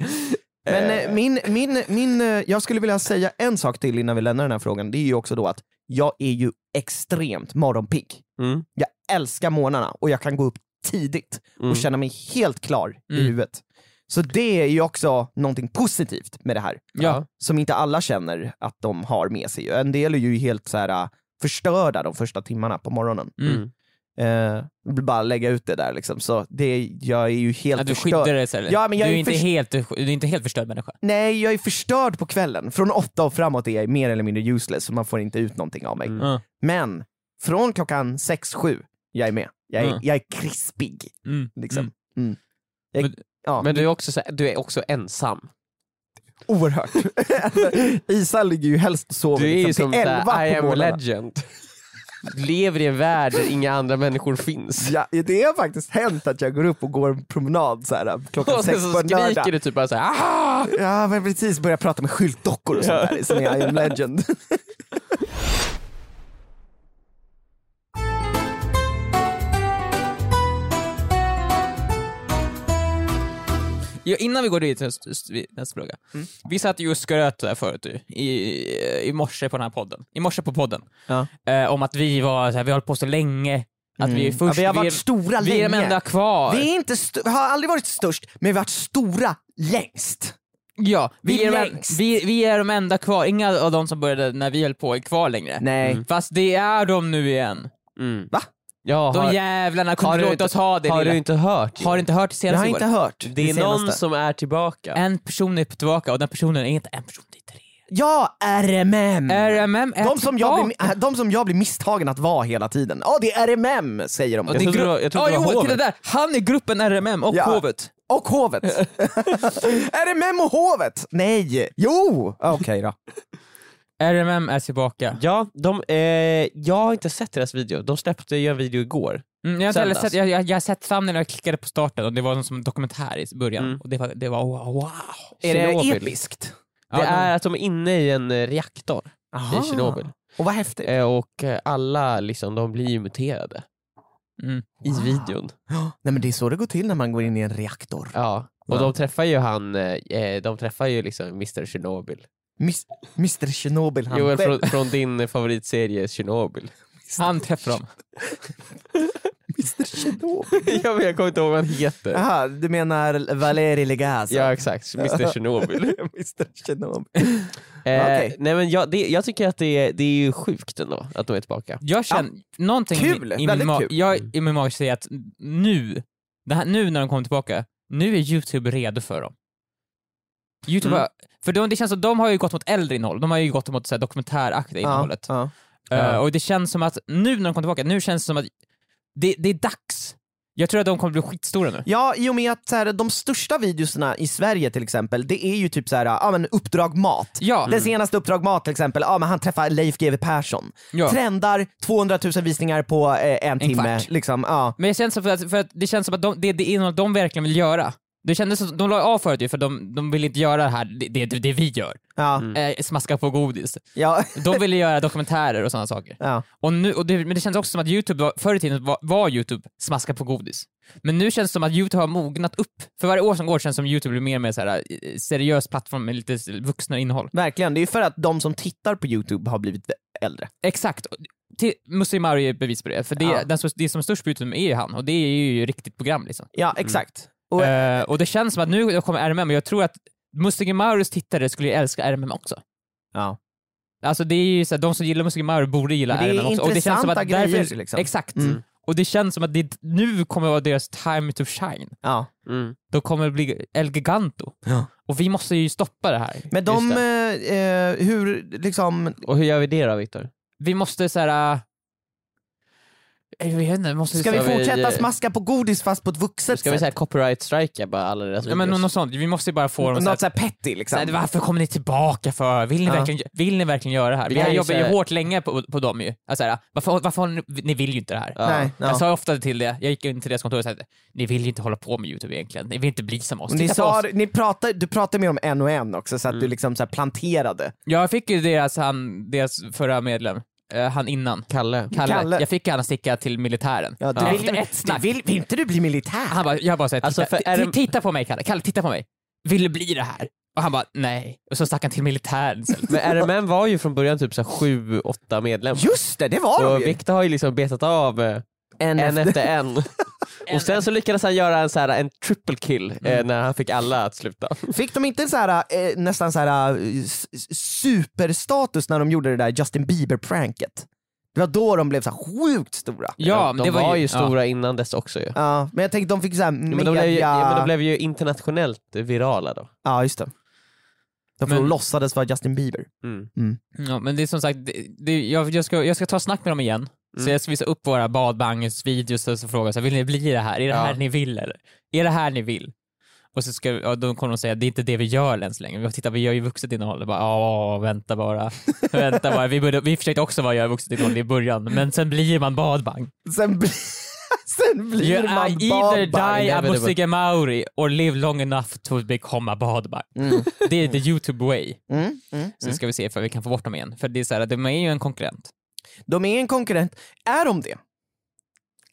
S3: Men eh, min, min, min, eh, jag skulle vilja säga en sak till innan vi lämnar den här frågan. Det är ju också då att jag är ju extremt morgonpigg.
S2: Mm.
S3: Jag älskar morgnarna och jag kan gå upp tidigt
S2: Mm.
S3: och känna mig helt klar i
S4: Mm.
S3: huvudet. Så det är ju också någonting positivt med det här.
S4: Ja.
S3: Som inte alla känner att de har med sig. En del är ju helt så här eh, förstörda de första timmarna på morgonen.
S4: Mm.
S3: Eh, bara lägga ut det där liksom. Så det, jag är ju helt
S4: Ja, du
S3: förstörd.
S4: skyddar dig så här.
S3: Ja, men jag
S4: du,
S3: är
S4: är inte
S3: först-
S4: helt, du är inte helt förstörd människa.
S3: Nej, jag är förstörd på kvällen. Från åtta och framåt är jag mer eller mindre useless, så man får inte ut någonting av mig.
S2: Mm.
S4: Ja.
S3: Men från klockan sex, sju, jag är med. Jag är,
S4: Mm.
S3: jag är krispig.
S4: Mm.
S3: Liksom.
S4: Mm.
S3: Jag,
S4: Men-
S3: ja,
S2: Men du är, också, så här, du är också ensam.
S3: oerhört. *laughs* Isa ligger ju helst och sover
S2: Du är ju
S3: liksom,
S2: som
S3: till
S2: så
S3: elva
S2: här, I
S3: på
S2: am
S3: morgnarna.
S2: legend. Du lever i en värld där inga andra människor finns.
S3: Ja, det har faktiskt hänt att jag går upp och går en promenad så här, äh, klockan
S2: *laughs* Och sen
S3: sex
S2: så
S3: på en lördag.
S2: skriker du typ bara såhär
S4: Ah!
S3: Ja, men precis. Börja prata med skyltdockor och sånt där, som i I am legend.
S4: Ja, innan vi går dit, s- s- vi- nästa fråga.
S3: Mm.
S4: Vi satt ju och skröt där förut ju, i, i morse på den här podden. I morse på podden.
S2: Ja.
S4: Eh, om att vi var, så här, vi har hållit på så länge, att vi
S3: Mm.
S4: är
S3: Ja,
S4: först,
S3: vi har
S4: vi,
S3: varit
S4: är,
S3: stora
S4: vi är de
S3: länge.
S4: enda kvar.
S3: Vi är inte st- vi har aldrig varit störst, men vi har varit stora längst.
S4: ja, vi,
S3: vi är
S4: är de, en-
S3: längst.
S4: vi, vi är de enda kvar, inga av de som började när vi höll på är kvar längre.
S3: Nej.
S4: Fast det är de nu igen.
S2: Mm.
S3: Mm. Va?
S2: Ja,
S4: De
S2: har,
S4: jävlarna kunde
S2: har
S4: inte
S2: du
S4: låta
S2: inte-
S4: oss ha det
S2: har du
S4: lilla.
S2: inte hört?
S4: Har du inte hört det
S3: Jag har
S4: senaste
S3: inte
S4: året?
S3: hört
S2: det är någon som är tillbaka.
S4: En person är tillbaka och den personen är inte en person, det är tre.
S3: Ja, RMM!
S2: Mm.
S4: RMM är
S3: de, som jag
S4: tillbaka.
S3: blir, de som jag blir misstagen att vara hela tiden. Ja, det är RMM säger de.
S4: Det är
S2: Jag trodde
S4: gru-
S2: det var- jag trodde
S4: Ja,
S2: det var
S4: jo,
S2: hovet.
S4: till det där. Han är gruppen RMM och
S3: Ja.
S4: hovet.
S2: *laughs*
S3: Och hovet! RMM och hovet! Nej! Jo!
S2: *laughs*
S3: Okej då.
S4: RMM är tillbaka.
S2: Ja, de, eh, jag har inte sett deras video. De släppte ju en video igår.
S4: Mm, jag, har inte heller
S2: Söndags.
S4: sett, jag, jag, jag har sett thumbnail när jag klickade på starten och det var som en dokumentär i början.
S2: Mm.
S4: Och det var, det var wow.
S3: Är det
S2: Tjernobyl.
S3: episkt?
S2: det
S4: Ja,
S2: är att de är inne i en eh, reaktor
S3: Aha.
S2: i Tjernobyl.
S3: Och vad häftigt.
S2: Eh, och eh, alla liksom, de blir ju muterade
S4: Mm.
S2: i videon.
S3: Ja, Nej men det är så det går till när man går in i en reaktor.
S2: Ja. Och
S3: Ja.
S2: de träffar ju han, eh, eh, de träffar ju liksom Mr Chernobyl.
S3: Mis- Mr Tjernobyl han
S2: Joel,
S3: själv.
S2: från, från din favoritserie Chernobyl.
S4: Han träffar dem.
S3: Mr Tjernobyl.
S2: *laughs* jag, vet, jag kommer inte ihåg vad han heter.
S3: Aha, du menar Valeri Legaza?
S2: Ja
S3: *laughs*
S2: exakt, Mr Chernobyl.
S3: Mr Tjernobyl.
S2: Eh,
S3: Okej.
S2: Nej men jag, det, jag tycker att det är, det är ju sjukt ändå att de är tillbaka.
S4: Jag känner, någonting
S3: Kul,
S4: i, min
S3: väldigt
S4: ma-
S3: kul.
S4: jag, i min mage säger att nu, det här, nu när de kommer tillbaka, nu är Youtube redo för dem. Youtube
S2: Mm.
S4: har, för de, det känns som de har ju gått mot äldre innehåll, de har ju gått mot så här, dokumentäraktiga innehållet.
S3: Ja,
S4: Eh,
S2: Ja.
S4: och det känns som att nu när de kommer tillbaka, nu känns det som att det, det är dags. Jag tror att de kommer bli skitstora nu.
S3: ja i och med att så här, de största videorna i Sverige till exempel, det är ju typ så här, ja, men Uppdrag Mat.
S4: Ja,
S3: Den senaste Uppdrag Mat till exempel, ja, men han träffar Leif GW Persson.
S4: ja.
S3: Trendar 200 000 visningar på eh, en, timme.
S4: kvart.
S3: Liksom, ja.
S4: men jag känns som för att, för att det känns som att de, det, det innehåll de verkligen vill göra. Det kändes som, de la av förut ju för de, de ville inte göra det här, det, det, det vi gör.
S3: Ja,
S4: Eh, smaska på godis.
S3: ja, *laughs*
S4: De ville göra dokumentärer och sådana saker.
S3: ja.
S4: Och nu, och det, men det känns också som att Youtube, var, förr i tiden var, var Youtube smaska på godis. Men nu känns det som att Youtube har mognat upp. För varje år som går känns det som att Youtube blir mer och mer så här, eh, seriös plattform med lite vuxna innehåll.
S3: Verkligen, det är ju för att de som tittar på Youtube har blivit äldre.
S4: Exakt. Till- Musse Mario är ett bevis på det, för det,
S3: Ja.
S4: den, som- det som är störst på Youtube är ju han, och det är ju ett riktigt program liksom.
S3: Ja, exakt. Och-
S4: Eh, och det känns som att nu kommer RMM, och jag tror att Musse Marios tittare skulle ju älska RMM också.
S3: Ja.
S4: Alltså det är ju såhär, de som gillar Musse Mario borde gilla
S3: Men det är
S4: RMM också. Och det känns som att
S3: intressanta
S4: därför-
S3: grejer, liksom.
S4: Exakt.
S3: Mm.
S4: Och det känns som att det nu kommer vara deras time to shine.
S3: Ja.
S2: Mm.
S4: De kommer bli El Giganto.
S3: Ja.
S4: Och vi måste ju stoppa det här.
S3: Men
S2: Just
S3: de, eh, eh, hur liksom,
S2: Och hur gör vi det då Viktor?
S4: Vi måste såhär... eh, Jag vet inte, vi måste...
S3: ska vi
S2: vi,
S3: fortsätta
S2: eh,
S3: smaska på godis fast på ett vuxet
S2: Ska vi
S3: sätt?
S2: säga copyright-strika bara alla deras
S4: Ja, men
S2: videos?
S4: något sånt. Vi måste ju bara få dem så här-
S3: Något såhär petty
S4: Så här,
S3: liksom.
S4: varför kommer ni tillbaka för? Vill ni,
S3: Ja.
S4: verkligen, vill ni verkligen göra det här?
S2: Vi
S4: Vi har
S2: kan ju
S4: jobbat ju
S2: säga-
S4: hårt länge på, på dem ju. Alltså, så här, varför, varför håller ni, ni vill ju inte det här.
S3: Nej, ja.
S4: Jag sa ofta till det, jag gick in till deras kontor och sa att ni vill ju inte hålla på med Youtube egentligen, ni vill inte bli som oss.
S3: Ni
S4: Titta på
S3: sa,
S4: oss. Mm.
S3: ni pratar, du pratade med dem en och en också så att du liksom så här planterade.
S4: Jag fick ju deras, han, deras förra medlem, eh, han innan,
S2: Kalle.
S4: Kalle.
S3: Kalle.
S4: Jag fick han att sticka till militären.
S3: Ja, du
S4: Efter
S3: vill,
S4: ett snack.
S3: vill, vill inte du bli militär?
S4: Han bara, jag bara såhär, titta,
S2: Alltså, för är
S4: ti-
S2: det-
S4: titta på mig Kalle, Kalle titta på mig. Vill du bli det här? Och han bara, nej. Och så stack han till militären istället.
S2: Men RMM var ju från början typ 7-8 medlemmar.
S3: Just det, det var de
S2: och
S3: ju!
S2: Viktor har ju liksom betat av eh,
S3: En
S2: en
S3: efter-
S2: efter *laughs* en. Och sen så lyckades han göra en, så här, en triple kill eh, när han fick alla att sluta.
S3: Fick de inte så här, eh, nästan så här, eh, s- s- superstatus när de gjorde det där Justin Bieber-pranket? Det var då de blev så här sjukt stora.
S4: Ja,
S2: de
S4: det
S2: de var, ju
S4: ja.
S2: stora innan dess också ju.
S3: Ja, men jag tänkte de fick så här media...
S2: Men de, blev ju, ja, men de blev ju internationellt virala då.
S3: Ja, just det. De
S4: Men-
S3: låtsades vara Justin Bieber.
S2: Mm.
S4: Ja, men det är som sagt, det, det, jag, jag, ska, jag ska ta snack med dem igen. Så jag ska visa upp våra badbangers-videos och så fråga så här, vill ni bli det här? Är det här ni vill eller? Är det här ni vill? Och så ska, ja, då kommer de säga det är inte det vi gör än så länge. Vi, tittar, vi gör ju vuxet innehåll. Och Bara, ja, vänta bara. vänta bara. Vi, började, vi försökte också vara göra vuxet innehåll i början, men sen blir man badbang.
S3: Sen, bli... *laughs* Sen blir
S4: You
S3: man
S4: I either
S3: badbang.
S4: die
S2: Nej, men
S4: Abu
S2: det var-
S4: Sigge Mauri or live long enough to become a badbang.
S3: Mm.
S4: Det är the YouTube way.
S3: Mm, mm,
S4: Så ska vi se ifall vi kan få bort dem igen. För det är så här, de är ju en konkurrent.
S3: De är en konkurrent. Är de det?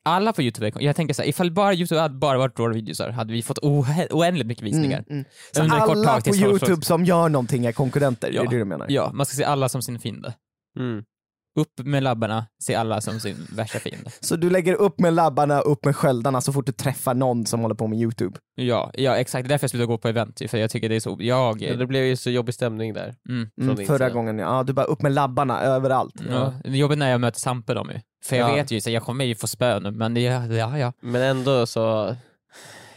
S4: Alla på YouTube är kon- Jag tänker så här, ifall bara YouTube hade bara varit våra videosar hade vi fått ohe- oändligt mycket visningar.
S3: mm. Så
S4: Under en kort
S3: alla
S4: tag
S3: på
S4: tills folk-
S3: Youtube som gör någonting är konkurrenter,
S4: Ja.
S3: det är det du menar?
S4: Ja, man ska se alla som sin fiende.
S2: Mm.
S4: Upp med labbarna, se alla som sin värsta fiende.
S3: Så du lägger upp med labbarna, upp med sköldarna så fort du träffar någon som håller på med Youtube.
S4: Ja, ja exakt. Det är därför jag slutade gå på event, ju, för jag tycker det är så... Jag...
S2: Ja, det blev ju så jobbig stämning där.
S4: Mm.
S2: Från
S3: Mm,
S2: din
S3: förra
S2: sida.
S3: gången, ja. Du bara upp med labbarna överallt.
S4: Ja. Det är jobbigt när jag möter Sampe dem ju. För jag
S2: Ja.
S4: vet ju, så jag kommer ju få spö nu, men ja, ja, ja.
S2: Men ändå så...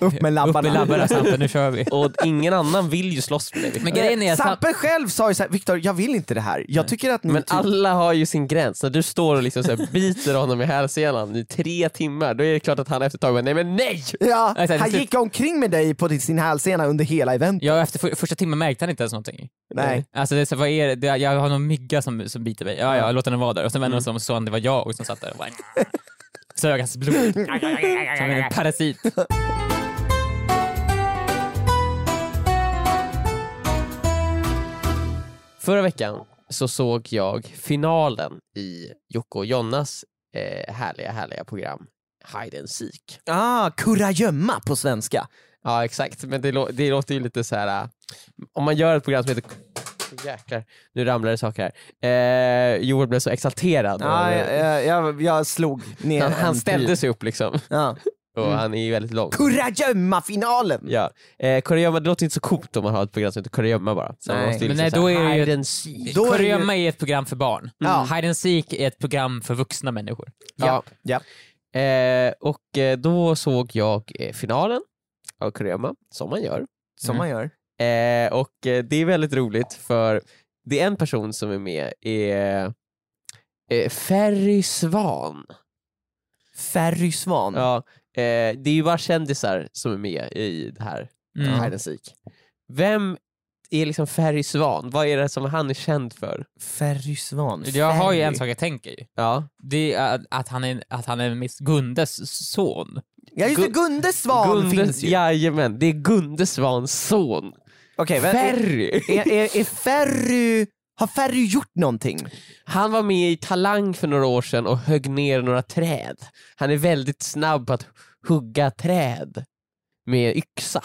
S3: Upp med labbarna.
S4: Upp med labbarna Sampe, nu
S3: *laughs*
S4: kör vi.
S2: Och ingen annan vill ju slåss med dig. Victor.
S4: Men grejen är att Sam-
S3: Sampe själv sa ju såhär, Viktor jag vill inte det här. Jag tycker att ni
S2: Men
S3: typ-
S2: alla har ju sin gräns. När du står och liksom så här biter honom i hälsenan i tre timmar, då är det klart att han efter ett tag bara, nej men nej!
S3: Ja,
S4: Nej, så här,
S3: han
S4: typ-
S3: gick omkring med dig på sin hälsena under hela eventet.
S4: Ja, efter för, första timmen märkte han inte ens någonting.
S3: Nej.
S4: Alltså, det, är så, vad är det? det? Jag har någon mygga som, som biter mig. Ja, ja, låt den vara där. Och sen vände han sig om och såg att det var jag som satt där och bara... Sög hans blod. Som en parasit.
S2: Förra veckan så såg jag finalen i Jocke och Jonas eh, härliga, härliga program Hide and Seek.
S3: Ah, kurragömma på svenska.
S2: Ja exakt, men det, lå- det låter ju lite så här. äh, om man gör ett program som heter Jäklar, nu ramlar det saker här. Eh, Joel blev så exalterad.
S3: Ja,
S2: Och-
S3: Ah, jag, jag, jag slog ner
S2: han,
S3: en
S2: han ställde sig upp liksom,
S3: pil. Ja.
S2: och
S3: Mm.
S2: han är ju väldigt lång.
S3: Kurragömma-finalen!
S2: Ja. Eh, kurragömma, det låter inte så coolt om man har ett program som heter kurragömma bara. Så
S3: Nej.
S2: man måste ju
S4: Men
S2: liksom
S4: nej,
S2: så här,
S4: då är det ju-
S2: hide and seek.
S3: Då är det ju-
S4: Kurragömma är ett program för barn.
S3: Ja.
S4: Hide and Seek är ett program för vuxna människor.
S2: Ja.
S3: Ja.
S2: Eh, och eh, då såg jag eh, finalen av kurragömma, som man gör.
S3: Som man gör.
S2: Eh, och eh, det är väldigt roligt för det är en person som är med, är eh, Ferry Svan.
S3: Ferry Svan.
S2: Ja, eh, det är ju bara kändisar som är med i det här
S4: Mm.
S2: Hide and Seek. Vem är liksom Ferry Svan? Vad är det som han är känd för?
S3: Ferry Svan.
S4: Jag har ju
S3: Ferry.
S4: en sak jag tänker ju.
S2: Ja,
S4: Det är att- att han är, att han är Miss Gundes son.
S3: Ja just det, Gunde Svan finns ju.
S2: jajamän, det är Gunde Svans son.
S3: Okej, vä-
S2: Ferry!
S3: är, är, är Ferry... Har Ferry gjort någonting?
S2: Han var med i Talang för några år sedan och högg ner några träd. Han är väldigt snabb på att hugga träd med yxa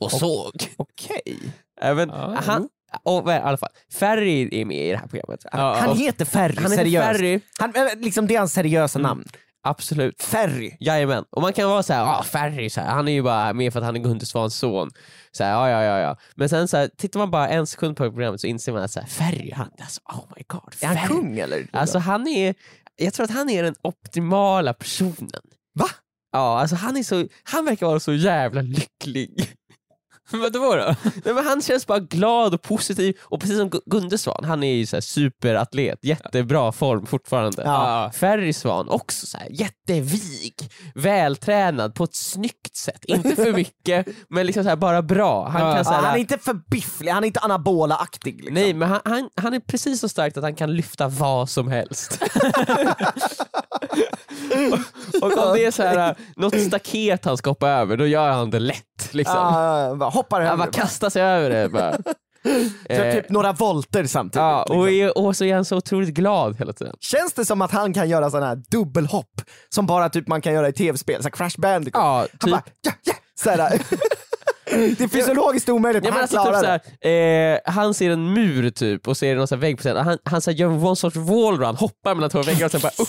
S2: och såg.
S3: Okej.
S2: Även,
S4: Ja,
S2: han, och, vad är det? i alla fall, Ferry är med i det här programmet.
S3: Han
S2: och,
S3: heter Ferry,
S2: han heter
S3: seriöst.
S2: Ferry, Mm.
S3: Han, äh, liksom det är hans seriösa namn.
S2: absolut.
S3: Ferry.
S2: Jajamän, och man kan vara såhär, ah, Ferry, så här, han är ju bara med för att han är Gunde Svans son. Så här, ja, ja, ja, ja. Men sen så här, tittar man bara en sekund på programmet så inser man att så här, Ferry, han, alltså, oh my god.
S3: Är han
S2: Ferry.
S3: kung eller?
S2: Alltså han är, jag tror att han är den optimala personen.
S3: Va?
S2: Ja, alltså han, är så, han verkar vara så jävla lycklig.
S4: Vadå då?
S2: Nej, men han känns bara glad och positiv och precis som Gu- Gunde Svan, han är ju så här superatlet, jättebra form fortfarande.
S4: Ja.
S2: Ferry Svan också så här, jättevig, vältränad på ett snyggt sätt. Inte för mycket, men liksom så här, bara bra. Han
S4: Ja.
S2: kan så
S3: Ja,
S2: här,
S3: han är inte för bifflig, han är inte anabola-aktig. Liksom.
S2: Nej, men han, han, han är precis så starkt att han kan lyfta vad som
S3: *laughs*
S2: helst. och, och om det är så här, äh, något staket han ska hoppa över, då gör han det lätt. Liksom.
S3: Ja, bara hoppar
S2: han
S3: över.
S2: bara kastar sig över det. Bara.
S3: Kör
S2: Eh,
S3: typ några volter samtidigt. *laughs*
S2: ja, och,
S3: liksom.
S2: är, och så är han så otroligt glad hela tiden.
S3: Känns det som att han kan göra sådana här dubbelhopp som bara typ man kan göra i tv-spel, så här Crash Bandicoot?
S2: Ja,
S3: Han
S2: typ.
S3: bara ja, ja, så här. *laughs* Det är fysiologiskt omöjligt,
S2: Ja,
S3: men
S2: men
S3: han
S2: alltså, typ
S3: klarar
S2: så här, eh, han ser en mur typ och ser någon så här vägg på sidan. Han, han så här, gör en one sorts wallrun, hoppar mellan två väggar och sen bara
S3: *laughs*
S2: upp.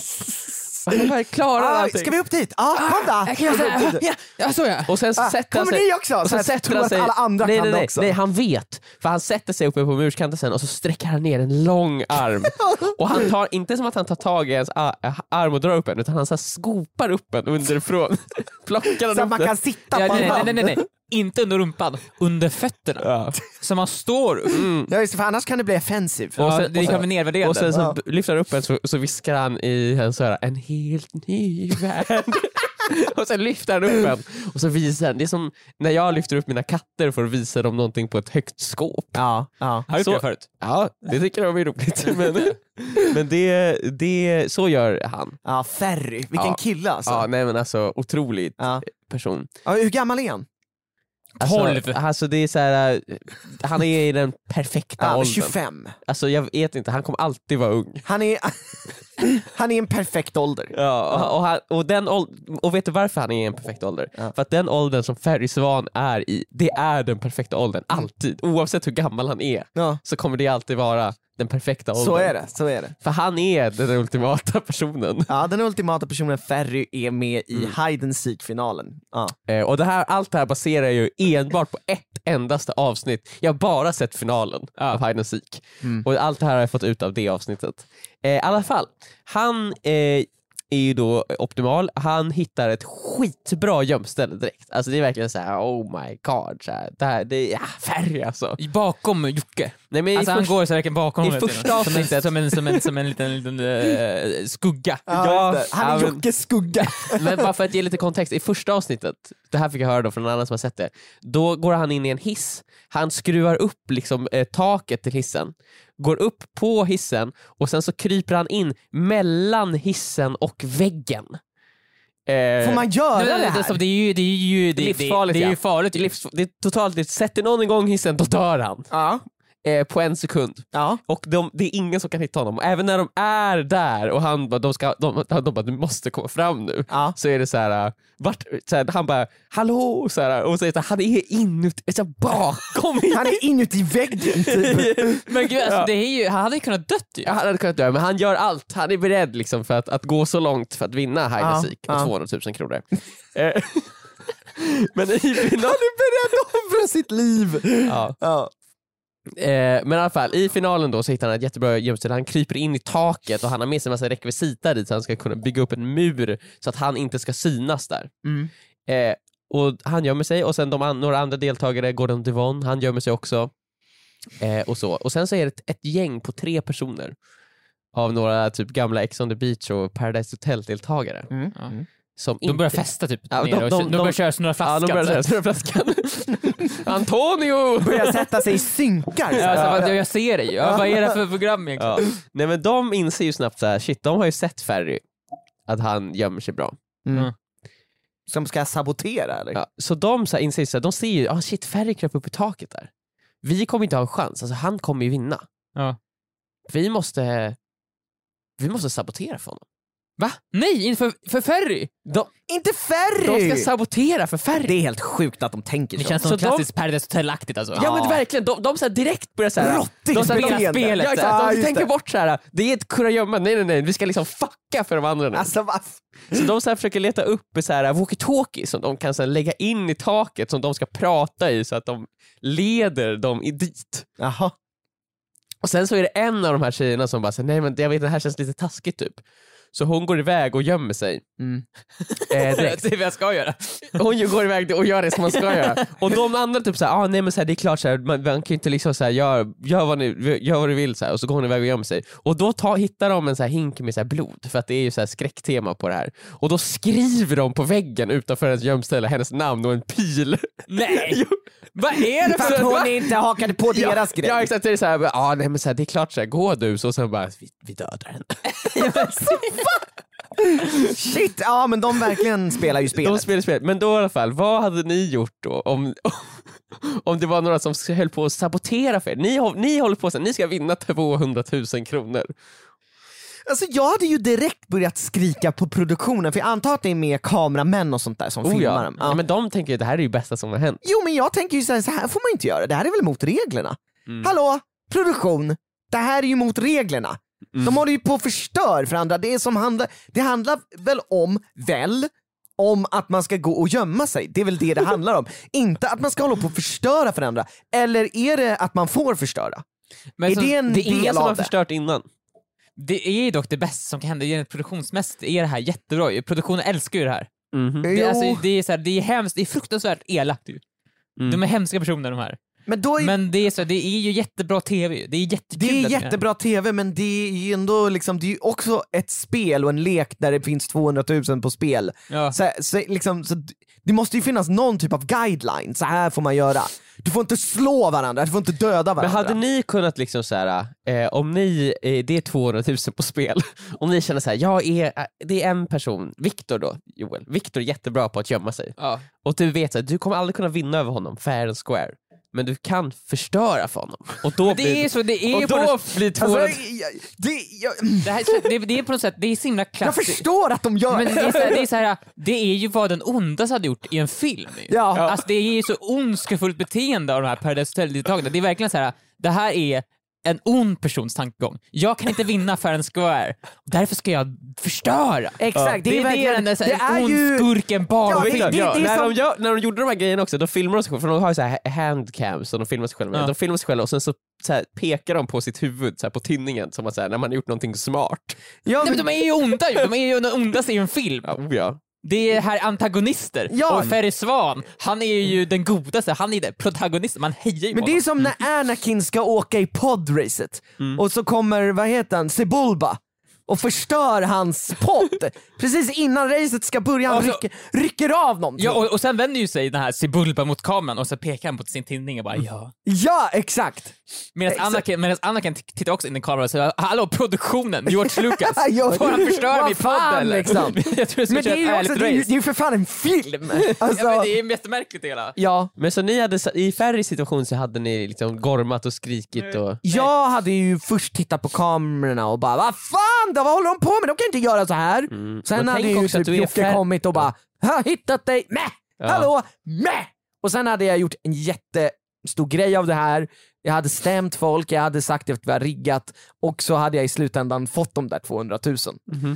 S2: Han bara klarar
S3: det. Ah,
S2: allting.
S3: ska vi upp dit? Ja, ah, kom då! *laughs*
S4: Ja, ja, så ja.
S2: Alltså, Och sen
S3: Ah,
S2: sätter han
S3: kommer
S2: sig...
S3: ni också?
S2: Och
S3: Så
S2: sen
S3: här,
S2: sätter
S3: tror
S2: han
S3: att
S2: sig...
S3: alla andra
S2: nej,
S3: kan
S2: nej,
S3: det
S2: nej,
S3: också.
S2: Nej, han vet. För han sätter sig uppe på murskanten sen och så sträcker han ner en lång
S3: *laughs*
S2: arm. och han tar, inte som att han tar tag i ens a- arm och drar upp en, utan han så här skopar upp en underifrån. *laughs* Plockar
S3: Så
S2: den
S3: att
S2: upp
S3: man
S2: den.
S3: kan sitta
S4: Ja,
S3: på
S4: nej,
S3: en
S4: nej, nej,
S3: hand.
S4: nej, nej. Inte under rumpan, under fötterna. Så man står upp.
S3: Ja, just, det, för annars kan det bli offensive.
S2: Och
S4: Ja,
S2: sen-
S4: det
S2: och
S4: kan
S2: sen-
S4: bli nedvärderande.
S2: Och sen så
S3: Ja.
S2: b- lyfter han upp en så, så viskar han i hennes öra, en helt ny värld. *laughs* och sen lyfter han upp en och så visar han. Det är som när jag lyfter upp mina katter för att visa dem någonting på ett högt skåp.
S3: Ja, ja.
S4: Har du gjort
S2: Så-
S4: det förut?
S2: Ja, det tycker de är roligt. Men, men det, det, så gör han.
S3: ja Ferry, vilken
S2: Ja.
S3: kille alltså.
S2: Ja,
S3: Ja.
S2: nej men alltså otroligt person.
S3: Ja, hur gammal är han?
S2: Alltså,
S4: Tolv.
S2: Alltså det är så här, eh, han är i den perfekta
S3: Ja,
S2: åldern.
S3: 25.
S2: Alltså jag vet inte, han kommer alltid vara ung.
S3: Han är, *laughs* han är en perfekt ålder.
S2: Ja, och, och, han, och, den åld- och vet du varför han är i en perfekt ålder?
S3: Ja.
S2: För att den åldern som Ferry Svan är i, det är den perfekta åldern. Alltid. Oavsett hur gammal han är
S3: Ja.
S2: så kommer det alltid vara den perfekta åldern.
S3: Så är det, så är det.
S2: För han är den ultimata personen.
S3: Ja, den ultimata personen Ferry är med i Hide and Seek-finalen. Ja.
S2: Eh, och det här, allt det här baserar jag ju enbart på ett endaste avsnitt. Jag har bara sett finalen av Hide and Seek. Och allt det här har jag fått ut av det avsnittet. Eh, I alla fall, han eh, är ju då optimal. Han hittar ett skitbra gömställe direkt. Alltså det är verkligen så här: oh my god. Så här, det här, det är ja, färg alltså.
S4: Bakom Jocke.
S2: Nej, men i
S4: Alltså han
S2: först-
S4: går så här verkligen bakom
S2: i
S4: hela tiden.
S2: första
S4: som, en, som, en, som, en, som en liten, liten eh, skugga.
S2: Ja,
S3: just det. han är
S2: ja, men-
S3: Jockes skugga.
S2: Men bara för att ge lite kontext, i första avsnittet, det här fick jag höra då från en annan som har sett det, då går han in i en hiss, han skruvar upp liksom, eh, taket till hissen, går upp på hissen och sen så kryper han in mellan hissen och väggen. Eh,
S3: Får man göra
S4: Nej,
S3: det
S4: men
S3: här?
S4: alltså, det är ju det är ju det,
S2: Livsfarligt,
S4: det, det är
S2: ja.
S4: ju farligt. ju.
S2: livs- det är totalt, det, sätter någon igång hissen då dör han
S3: Ja.
S2: eh, på en sekund.
S3: Ja.
S2: Och de, det är ingen som kan hitta honom. Och Även när de är där och han bara, de, ska, de, de bara du måste komma fram nu.
S3: Ja.
S2: Så är det så här, äh, vart, så här han bara hallå så här, och säger så här, han är inuti, så här, bakom. *laughs*
S3: Han är inuti väggen typ. *laughs*
S4: Men gud, alltså, det är ju, han hade ju kunnat dött ju.
S2: Ja, han hade kunnat dö men han gör allt, han är beredd liksom för att, att gå så långt för att vinna Hide
S3: Ja,
S2: and Seek
S3: ja.
S2: och 200 000 *laughs* kronor. Eh, men i final,
S3: beredd att offra sitt liv.
S2: ja.
S3: Ja.
S2: Eh, men i alla fall, i finalen då så hittar han ett jättebra gömställe. Han kryper in i taket och han har med sig en massa rekvisita dit så han ska kunna bygga upp en mur så att han inte ska synas där.
S3: Mm.
S2: Eh, och Han gömmer sig och sen de an- några andra deltagare, Gordon Devon, han gömmer sig också. Eh, och, så. och sen så är det ett, ett gäng på tre personer av några typ gamla Ex on the beach och Paradise Hotel-deltagare.
S3: Mm.
S4: Ja.
S2: Som
S4: De börjar
S2: inte-
S4: festa typ.
S2: Ja,
S4: nere
S2: de-
S4: och
S2: de-
S4: kö- de,
S2: de-
S4: börjar köra snurra
S2: Ja, de
S4: flaskan.
S2: börjar
S4: så här.
S2: säga "Snurra flaskan.
S4: *laughs*
S2: Antonio!
S3: Börjar sätta sig
S2: *laughs*
S3: i synkar.
S4: Ja, alltså, vad- jag ser dig ju. Ja, vad är det för program egentligen?
S2: Ja. Nej men de inser ju snabbt så här, shit de har ju sett Ferry, att han gömmer sig bra.
S3: Som ska sabotera eller?
S2: Ja. Så de så här, inser ju, så här, de ser ju, ah, shit Ferry kröp upp i taket där. Vi kommer inte ha en chans, alltså han kommer ju vinna.
S4: Ja.
S2: Vi måste vi måste sabotera för honom.
S4: Va? Nej, inför för Ferry!
S3: Inte Ferry!
S2: De ska sabotera för Ferry.
S3: Det är helt sjukt att de tänker
S4: Det
S3: så.
S4: känns
S2: Så
S4: som
S2: de-
S4: klassiskt Paradise Hotel-aktigt alltså.
S2: Ja, men verkligen, de, de så här direkt börjar så här,
S3: Råttigt
S2: de så här,
S3: beteende.
S2: spelet.
S3: Ja,
S2: Ja,
S3: exakt.
S2: exakt,
S3: Ah,
S2: de
S3: just
S2: tänker
S3: det.
S2: bort så här, det är ett kurragömma, nej nej nej, vi ska liksom fucka för de andra nu.
S3: Alltså vad
S2: Så de så här försöker leta upp så här walkie-talkie som de kan så här lägga in i taket som de ska prata i så att de leder dem i dit.
S3: *laughs* Jaha.
S2: Och sen så är det en av de här tjejerna som bara säger nej men jag vet det här känns lite taskigt typ. Så hon går iväg och gömmer sig.
S3: Mm.
S2: Eh,
S4: *laughs* Det
S2: direkt.
S4: är vad jag ska göra.
S2: *laughs* Hon ju går iväg och gör det som man ska göra.
S4: *laughs*
S2: Och de andra typ såhär, ah, nej men så här, det är klart så här, man, man kan ju inte liksom såhär, gör, gör, vad ni, gör vad du vill så här. och så går hon iväg och gömmer sig. Och då ta, hittar de en så här hink med så här blod, för att det är ju så här skräcktema på det här. Och då skriver de på väggen utanför hennes gömställe hennes namn och en pil. *laughs*
S4: Nej! vad är det
S3: För att
S4: för...
S3: hon inte hakade på deras
S2: ja,
S3: grej.
S2: Ja exakt, det är såhär, ah, nej men så här, det är klart såhär, gå du, så och sen bara, vi, vi dödar henne.
S3: Shit, ja men de verkligen spelar ju
S2: De
S3: spelet.
S2: spelar spelet, men då i alla fall, vad hade ni gjort då om, *laughs* om det var några som höll på att sabotera för er? Ni, hå- ni håller på att ni ska vinna 200 000 kronor.
S3: Alltså jag hade ju direkt börjat skrika på produktionen för jag antar att det är mer kameramän och sånt där som
S2: Oh,
S3: filmar
S2: ja.
S3: dem. Ja.
S2: Ja, men de tänker ju det här är ju bästa som har hänt.
S3: Jo men jag tänker ju såhär, så här får man inte göra, det här är väl mot reglerna?
S2: Mm.
S3: Hallå, produktion, det här är ju mot reglerna.
S2: Mm.
S3: De håller ju på och förstör för andra, det, är som handlar, det handlar väl om, väl, om att man ska gå och gömma sig, det är väl det det handlar
S2: *laughs*
S3: om. inte att man ska hålla på och förstöra för andra, eller är det att man får förstöra?
S4: Men
S3: är
S4: som-
S3: det en
S2: alltså, Det är ingen
S3: Mm. del
S2: som har
S3: av det?
S2: förstört innan.
S4: Det är ju dock det bästa som kan hända. Rent Produktionsmässigt är det här jättebra ju. Produktionen älskar ju det här.
S2: Mhm.
S4: Det,
S3: Jo.
S4: är alltså, det, är så här, det är hemskt, det är fruktansvärt elakt ju.
S2: Mm.
S4: De är hemska personer de här.
S3: Men då är,
S4: Men det är, så, det är ju jättebra tv. ju. Det är jättekul.
S3: det är
S4: att-
S3: jättebra tv men det är ju ändå liksom, det är ju också ett spel och en lek där det finns 200 000 på spel.
S4: Ja.
S3: Så, så, liksom, så, d- det måste ju finnas någon typ av guideline, så här får man göra. Du får inte slå varandra, du får inte döda varandra.
S2: Men hade ni kunnat liksom så här, eh, om ni, eh, det är 200 000 på spel, *laughs* om ni känner så här, jag är, eh, det är en person, Viktor då, Joel, Viktor är jättebra på att gömma sig.
S4: Ja.
S2: Och du vet att du kommer aldrig kunna vinna över honom fair and square, men du kan förstöra för honom. Och då blir
S4: Det är så, det är
S2: och
S4: ju
S2: då
S4: på...
S2: blir 200
S3: Alltså,
S2: 000
S3: jag, jag, det, jag,
S4: Det, här, det, det är på något sätt, det är så himla
S3: jag
S4: klassiskt.
S3: förstår att de gör
S4: Men det
S3: *laughs* det.
S4: är, så här, det, är så här, det är ju vad den ondas hade gjort i en film. ju.
S3: Ja.
S4: Alltså, det är ju så ondskefullt beteende av de här Paradise Hotel-deltagarna. Det är verkligen så här, det här är en ond persons tankegång. Jag kan inte vinna fair and square, därför ska jag förstöra.
S3: Exakt, Eh, det är
S4: det är
S3: verkligen-
S4: den där så här,
S3: det är
S4: ond
S3: ju-
S4: skurken
S3: Ja,
S4: bara
S3: det-
S4: vill.
S2: Viktor,
S3: det-
S2: ja,
S3: det är
S2: när,
S3: som-
S2: de gör, när de gjorde de här grejerna också, de filmade sig själva, för de har ju så här handcams som de filmar sig själva med.
S4: Ja.
S2: De filmar sig själva och sen så, så här, pekar de på sitt huvud så här, på tinningen som att så här, när man har gjort någonting smart.
S3: Ja,
S4: Nej, men de är ju onda ju, de är ju de ondaste i en film.
S2: Ja, oh ja.
S4: Det är här antagonister.
S3: Ja.
S4: Och Ferry Svan, han är ju den godaste, han är den protagonisten, man hejar ju
S3: Men
S4: på
S3: det är
S4: honom.
S3: som när Anakin ska åka i podracet
S4: Mm.
S3: och så kommer, vad heter han, Sebulba och förstör hans
S4: *laughs*
S3: podd. Precis innan racet ska börja, han
S4: Alltså-
S3: rycker, rycker av någonting.
S4: Ja,
S3: Ja,
S4: och, och sen vänder ju sig den här Sibulba mot kameran och så pekar han på sin tinning och bara ja.
S3: exakt! Mm.
S4: Medan
S3: Exakt.
S4: Anakin, medan Anakin t- tittar också in i kameran och säger hallå produktionen,
S3: *laughs*
S4: George Lucas,
S3: Ja,
S4: får han förstöra
S3: vad
S4: min
S3: fan,
S4: podd eller?
S3: liksom.
S4: *laughs* Jag tror jag ska
S3: Men det
S4: köra
S3: är ju
S4: ett
S3: också, det är ju det
S4: ärligt race.
S3: är ju för fan en film! Alltså,
S4: *laughs* Ja, men
S3: ja,
S4: det är jättemärkligt det hela.
S3: ja,
S2: Men så ni hade, i färre situation så hade ni liksom gormat och skrikit och...
S3: jag hade ju först tittat på kamerorna och bara vad fan då, vad håller de på med? De kan inte göra så här. Sen
S2: Mm. Men
S3: hade
S2: tänk
S3: ju
S2: också att
S3: typ
S2: du är
S3: Jocke
S2: fär-
S3: kommit och bara har hittat dig, Mäh! hallå, Mäh! Och sen hade jag gjort en jättestor grej av det här. Jag hade stämt folk, jag hade sagt att vi har riggat och så hade jag i slutändan fått de där 200 000.
S2: Mhm.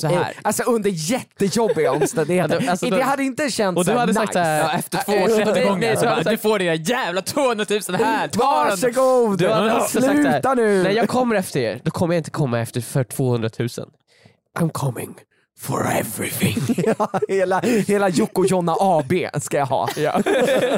S4: Så
S3: Eh, Alltså under jättejobbiga omständigheter.
S2: alltså,
S3: det
S2: då-
S3: hade inte känts
S2: Och du
S3: så här
S2: hade
S3: nice.
S2: sagt såhär...
S4: Ja, efter två års rättegångar så
S2: du
S4: bara,
S2: hade
S4: du
S2: sagt,
S4: får dina jävla 200 000 här,
S3: Mm,
S4: ta den!
S3: Varsågod!
S2: du hade också sagt så här,
S3: Sluta nu!
S2: Nej jag kommer efter er, då kommer jag inte komma efter för 200 000. I'm coming for everything.
S3: *laughs* Ja, hela, hela Jocke och Jonna AB ska jag ha.
S4: *laughs*
S3: *laughs*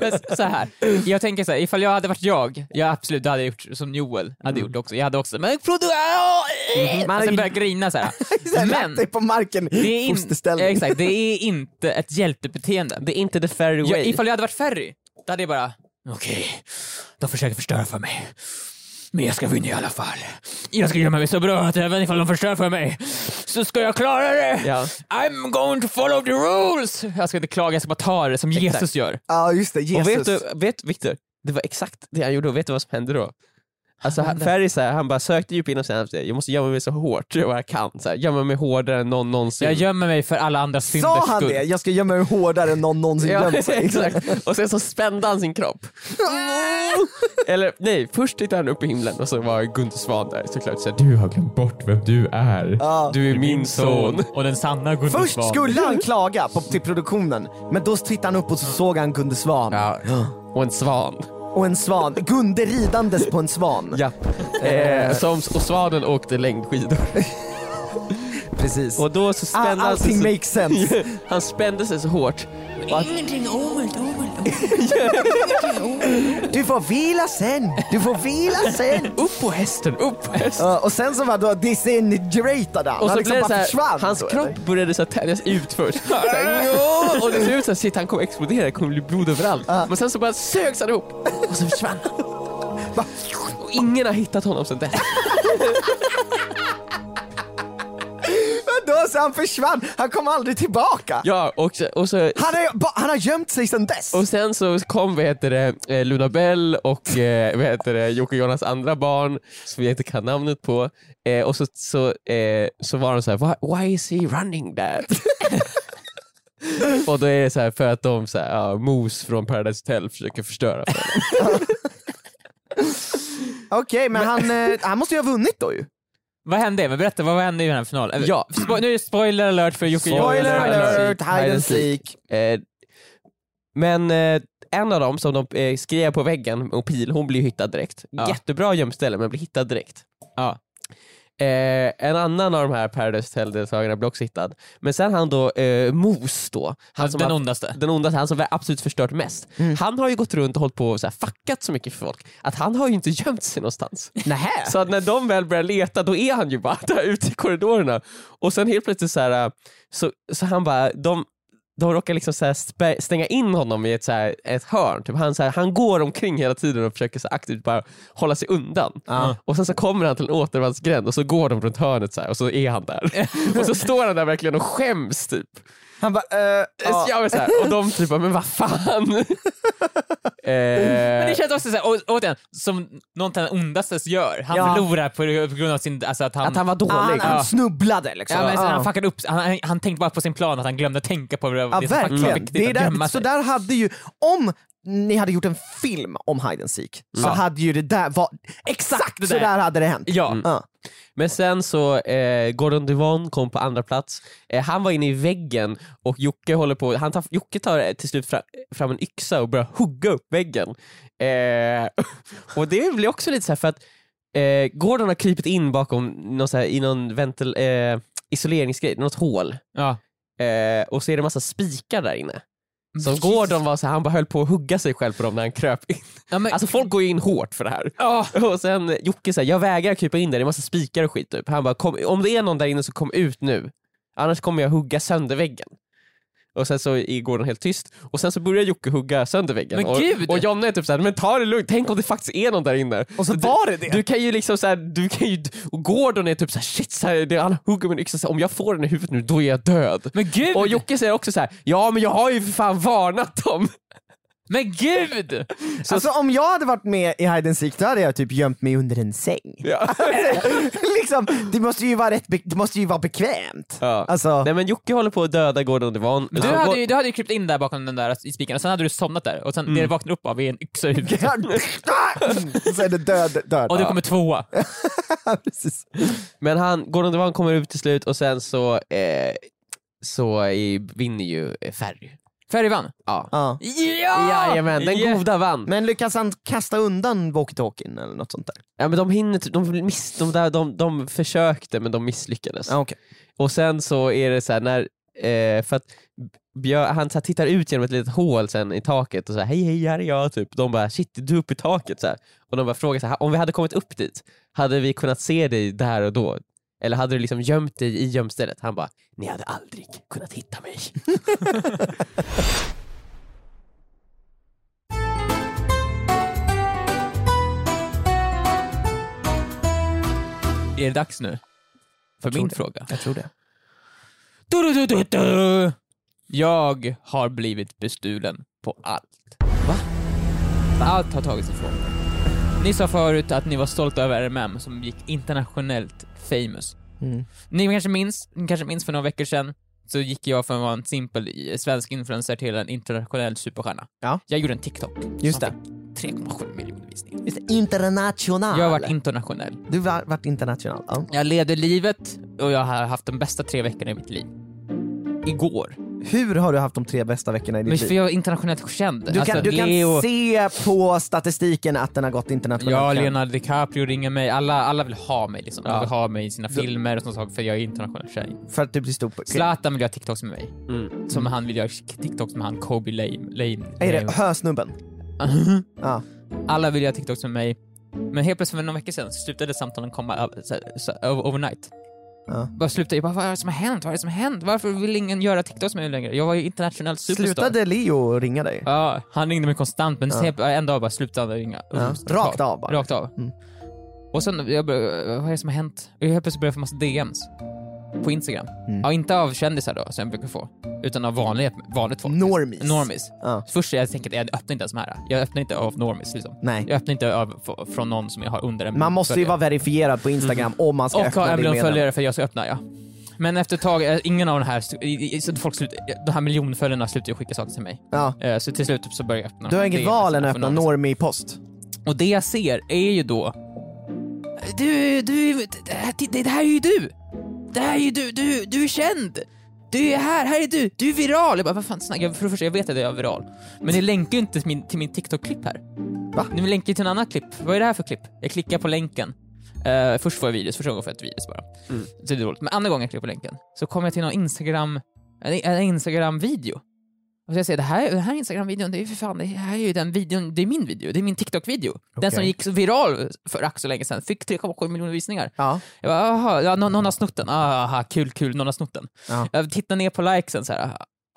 S4: Men s- så här. Jag tänker så här, ifall jag hade varit jag, jag absolut då hade jag gjort som Joel hade gjort också. Jag hade också men Frodo, äh,
S3: Mm. Mm-hmm. Man
S4: man sen
S3: hade-
S4: börjat grina
S3: *laughs*
S4: så här.
S3: Sen lagt
S4: Men
S3: dig på marken
S4: det
S3: i
S4: är, in,
S3: fosterställning.
S4: exakt, det är inte ett hjältebeteende.
S2: Det är inte the fairy
S4: Jag,
S2: way.
S4: ifall jag hade varit Ferry, då hade jag bara okej, de försöker förstöra för mig. Men jag ska vinna i alla fall. Jag ska gömma mig så bra att även ifall de förstör för mig så ska jag klara det.
S2: Ja.
S4: I'm going to follow the rules. Jag ska inte klaga, jag ska bara ta det som Jesus gör.
S3: Ja just det,
S2: Och
S3: Jesus.
S2: vet du, vet, Victor, det var exakt det han gjorde och vet du vad som hände då? Alltså han- Ferry så här, han bara sökte djupt inom sig, han sa, jag måste gömma mig så hårt jag bara kan, så här, gömma mig hårdare än någon någonsin.
S4: Jag gömmer mig för alla andras synders
S3: Sa han
S4: skull.
S3: det? Jag ska gömma mig hårdare än någon någonsin
S2: Ja,
S3: gömt
S2: *laughs*
S3: sig.
S2: exakt. Och sen så spände han sin kropp. Eller nej, först tittade han upp i himlen och så var Gunter Svan där såklart. Så här, du har glömt bort vem du är.
S3: Ja.
S2: Du är min son.
S4: Och den sanna Gunde
S3: Först skulle han klaga på, till produktionen, men då tittade han upp och så såg han Gunde Svan.
S2: Och en svan.
S3: Och en svan. Gunde ridandes på en svan.
S2: Ja. Eh, som, och svanen åkte längdskidor.
S3: Precis.
S2: Och då så
S3: All,
S2: spände han sig
S3: allting
S2: så,
S3: makes sense.
S2: *laughs* han spände sig så hårt.
S1: Ingenting omöjligt, omöjligt, omöjligt.
S3: Du får vila sen. Du får vila sen.
S2: *laughs* Upp på hästen, upp på hästen.
S3: Ja, och sen så var då disintegrerade han.
S2: Och så
S3: Han liksom
S2: blev det
S3: bara
S2: så här,
S3: försvann.
S2: hans
S3: så,
S2: kropp
S3: eller?
S2: började så här tänjas ut
S3: *laughs*
S2: först. Så här, "Njå!" och det ser ut så här, shit han kommer explodera, det kommer bli blod överallt. Men sen så bara sögs han ihop och så försvann han.
S3: Va?
S2: Och ingen har hittat honom sen dess.
S3: *laughs* Vadå, så han försvann? Han kom aldrig tillbaka.
S2: Ja, och, så- och, så,
S3: Han, är, ba, han har gömt sig sedan dess.
S2: och sen så kom vad heter det, eh, Luna Bell och eh, vad heter det, Jocke och Jonas andra barn som jag inte kan namnet på. Eh, och så, så, eh, så var de så här, why, why is he running that? *laughs* och då är det så här för att de så här, ja, Mos från Paradise Hotel försöker förstöra för
S3: Okej, men, han, eh, han måste ju ha vunnit då ju.
S4: Vad hände? Men berätta, vad hände i den här finalen?
S2: Ja.
S4: Spo- nu är det spoiler alert för Jocke
S2: Spoiler
S4: Jonas.
S2: alert, hide and seek. Eh, men eh, en av dem som de eh, skrev på väggen och pil, hon blir ju hittad direkt.
S4: Ja.
S2: Jättebra gömställe men blir hittad direkt.
S4: Ja.
S2: Eh, en annan av de här Paradise Hotel-deltagarna blir också hittad. Men sen han då, eh, Mos då, han som
S4: den
S2: har-
S4: ondaste.
S2: den ondaste, Mm. han som absolut förstört mest. Han har ju gått runt och hållit på och så här fuckat så mycket för folk att han har ju inte gömt sig *laughs* någonstans.
S3: Nähä?
S2: Så att när de väl börjar leta då är han ju bara där *laughs* ute i korridorerna. Och sen helt plötsligt så här, äh, så, så han bara, de, de råkar liksom så här spä, stänga in honom i ett, så här, ett hörn. Typ han, så här, han går omkring hela tiden och försöker så här aktivt bara hålla sig undan. Och sen så kommer han till en återvändsgränd och så går de runt hörnet så här, och så är han där. *laughs* och så står han där verkligen och skäms typ.
S3: Han bara, eh, ja.
S2: Ja. men Så här, och de typ bara, men vad fan.
S4: Men
S2: eh,
S4: det känns också såhär, å- återigen, som någon av den ondastes gör. Han
S3: Ja.
S4: förlorar på, på grund av sin, alltså att han...
S2: att han var dålig.
S3: Ah, han, han
S2: Ja.
S3: snubblade liksom.
S4: ja, men, så
S3: Ja.
S4: han fuckade upp, han, han tänkte bara på sin plan att han glömde tänka på det,
S3: Ja,
S4: det faktiskt var
S3: verkligen.
S4: viktigt
S3: Det är
S4: att
S3: där,
S4: gömma
S3: så
S4: sig.
S3: där hade ju, om ni hade gjort en film om hide and seek, så hade ju det där var exakt
S4: det
S3: så
S4: där.
S3: där hade det hänt.
S4: Ja.
S3: Ja.
S2: Men sen så, eh, Gordon Devon kom på andra plats. Eh, han var inne i väggen och Jocke håller på, han tar, Jocke tar eh, till slut fram, fram en yxa och börjar hugga upp väggen. Eh, *laughs* och det blir också lite så här för att eh, Gordon har krypit in bakom någon så här, i någon ventil, eh, isoleringsgrej, något hål.
S4: Ja.
S2: Eh, och så är det massa spikar där inne. Som
S4: Jesus.
S2: Gordon var så här, han bara höll på att hugga sig själv på dem när han kröp in.
S4: Ja, men,
S2: Alltså folk går ju in hårt för det här.
S4: Ja.
S2: *laughs* Och sen Jocke säger jag vägrar krypa in där, det är massa spikar och skit. Typ. Han bara, kom, om det är någon där inne så kom ut nu. Annars kommer jag hugga sönder väggen. Och sen så är Gordon helt tyst och sen så börjar Jocke hugga sönder väggen.
S4: Men
S2: och,
S4: gud!
S2: och Jonna är typ såhär, men ta det lugnt, tänk om det faktiskt är någon där inne.
S3: Och så
S2: du,
S3: var det det.
S2: Du kan ju liksom såhär, du kan ju, och Gordon är typ såhär, shit, så här, det, han hugger min yxa, så här, om jag får den i huvudet nu då är jag död.
S4: men gud!
S2: och Jocke säger också så här: ja men jag har ju för fan varnat dem. *laughs*
S4: Men gud!
S3: alltså om jag hade varit med i hide and seek då hade jag typ gömt mig under en säng.
S2: Ja.
S3: *laughs* liksom, det, måste ju vara rätt be- det måste ju vara bekvämt.
S2: Ja.
S3: Alltså,
S2: Nej men Jocke håller på att döda Gordon Devon.
S4: Men du, hade ju, du hade ju krypt in där bakom den där i spiken och sen hade du somnat där och sen
S3: Mm.
S4: det du vaknar upp av är en yxa i huvudet.
S3: så är det död. död.
S4: Och du kommer tvåa.
S3: Precis.
S2: Men han, Gordon Devon kommer ut till slut och sen så, eh, så i- vinner ju eh, Ferry.
S4: Ferry vann.
S2: Ja.
S3: Ja.
S2: Jajamän, den
S4: Yeah.
S2: goda vann.
S3: Men lyckas han kasta undan walkie-talkien eller något sånt där?
S2: Ja, men de, hinner, t- de, miss, de, där, de, de försökte men de misslyckades.
S3: Ah, okay.
S2: Och sen så är det så här när, eh, för att Björ, han så här tittar ut genom ett litet hål sen i taket och säger hej hej här är jag typ. De bara shit du är uppe i taket så här. Och de bara frågar så här, om vi hade kommit upp dit, hade vi kunnat se dig där och då? Eller hade du liksom gömt dig i gömstället? Han bara, ni hade aldrig kunnat hitta *laughs* mig.
S4: Är det dags nu? För min
S3: det.
S4: fråga.
S3: Jag tror det.
S4: Du, du, du, du, du. Jag har blivit bestulen på allt. Va? Allt har tagits ifrån mig. Ni sa förut att ni var stolta över RMM som gick internationellt famous.
S3: Mm.
S4: Ni kanske minns, ni kanske minns för några veckor sedan så gick jag från att vara en simpel i- svensk influencer till en internationell superstjärna.
S3: Ja.
S4: Jag gjorde en TikTok.
S3: Just
S4: som fick 3,7 miljoner visningar.
S3: Just det. International.
S4: Jag har varit internationell.
S3: Du har varit international. Ja.
S4: Jag levde livet och jag har haft de bästa tre veckorna i mitt liv. Igår.
S3: Hur har du haft de tre bästa veckorna i
S4: Men
S3: ditt
S4: för
S3: liv?
S4: jag är internationellt känd.
S3: Du kan,
S4: Alltså,
S3: du kan
S4: Leo,
S3: se på statistiken att den har gått
S4: Ja,
S3: internationellt.
S4: Leonardo DiCaprio ringer mig. Alla, alla vill ha mig liksom. De
S2: Ja.
S4: vill ha mig i sina filmer och sånt saker för jag är internationell tjej.
S3: För att du blir stor på...
S4: Zlatan vill göra TikToks med mig.
S2: Mm.
S4: Som han vill göra TikToks med han Kobe Lame. Lame,
S3: Är det
S4: Lame.
S3: hösnubben? Ja.
S4: *laughs* Alla vill göra TikToks med mig. Men helt plötsligt för några veckor sedan så slutade samtalen komma över- så, så, över- overnight.
S3: Ja.
S4: Bara slutade, jag bara vad är det som har hänt? Vad är det som har hänt? Varför vill ingen göra TikToks med mig längre? Jag var ju internationell superstar.
S3: Slutade Leo ringa dig?
S4: Ja, han ringde mig konstant men ja. en dag bara slutade han ringa.
S3: Ja. Rakt av bara?
S4: Rakt av.
S3: Mm.
S4: Och sen, jag började, vad är det som har hänt? Jag helt plötsligt började få massa DMs på Instagram.
S3: Mm.
S4: Ja, inte av kändisar då, som jag brukar få, utan av vanliga, vanligt folk.
S3: Normis.
S4: Normis.
S3: Ja.
S4: Först jag tänkte jag öppnar inte ens de här. Jag öppnar inte av normis liksom.
S3: Nej.
S4: Jag öppnar inte av, f- från någon som jag har under en
S3: Man måste ju
S4: följare.
S3: vara verifierad på Instagram om man ska
S4: Mm. Och
S3: öppna
S4: ha
S3: din
S4: en miljon
S3: medlem.
S4: följare för jag ska öppna, ja. Men efter ett tag, eh, ingen av de här, st- i- i- så folk slut, eh, de här miljonföljarna slutar ju skicka saker till mig.
S3: Ja.
S4: Eh, Så till slut så börjar jag öppna.
S3: Du har
S4: de
S3: inget
S4: DMs
S3: val än att
S4: för
S3: öppna
S4: normis.
S3: normi-post?
S4: alltså Och det jag ser är ju då... Du, du, det här, det, det här är ju du! Det här är ju du, du, du är känd! Du är här, här är du, du är viral! Jag bara, vad fan snackar jag? För det första, jag vet att jag är viral. Men ni länkar ju inte till min, till min TikTok-klipp här.
S3: Va?
S4: Ni länkar ju till en annan klipp. Vad är det här för klipp? Jag klickar på länken. Eh, först får jag virus, första gången får jag ett virus bara.
S2: Mm.
S4: Så det är dåligt. Men andra gången jag klickar på länken så kommer jag till någon Instagram, en, en Instagram-video. Och så jag säger det här, den här Instagram-videon, det är ju för fan, det här är ju den videon, det är min video, det är min TikTok-video. Den som gick så viral för ack så länge sedan, fick 3,7 miljoner visningar.
S3: Ja.
S4: Jag bara, aha, ja, någon, någon har snott den, "Ah, aha, kul, kul, någon har snott den.
S3: Ja.
S4: Jag tittar ner på likesen så här,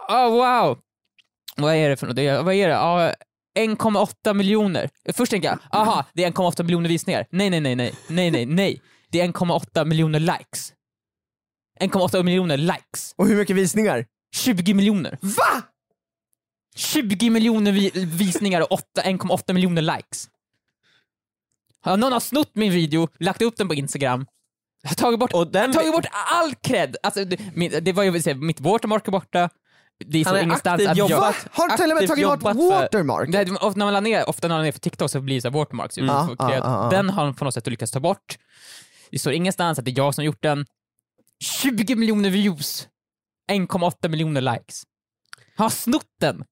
S4: ah wow! Vad är det för något? Det är- Vad är det? Ah, 1,8 miljoner. Först tänker jag, aha, det är 1,8 miljoner visningar. Nej, nej, nej, nej, nej, nej, nej. Det är 1,8 miljoner likes. 1,8 miljoner likes.
S3: Och hur mycket visningar?
S4: 20 miljoner.
S3: Va?
S4: 20 miljoner vi- visningar och åtta- 1,8 miljoner likes. Ja, Någon har snott min video, lagt upp den på Instagram, Jag har tagit bort, tagit bort all cred. Alltså, det, min, det var ju säga, mitt watermark är borta, det är
S2: Han
S4: så
S2: är
S4: ingenstans
S2: aktivt
S4: att jag...
S3: Va? Har du till och med
S2: Aktivt
S3: tagit bort
S2: jobbat för-
S3: watermark?
S4: Det, här- ofta när man la ner, ofta när man la ner för TikTok så blir det så här watermarks.
S2: Mm.
S4: ju,
S3: Ja,
S4: för
S2: Ah,
S3: ja,
S4: cred.
S3: ja, ja.
S4: Den har han på något sätt lyckats ta bort. Det står ingenstans att det är jag som gjort den. 20 miljoner views, 1,8 miljoner likes. Han har snott den!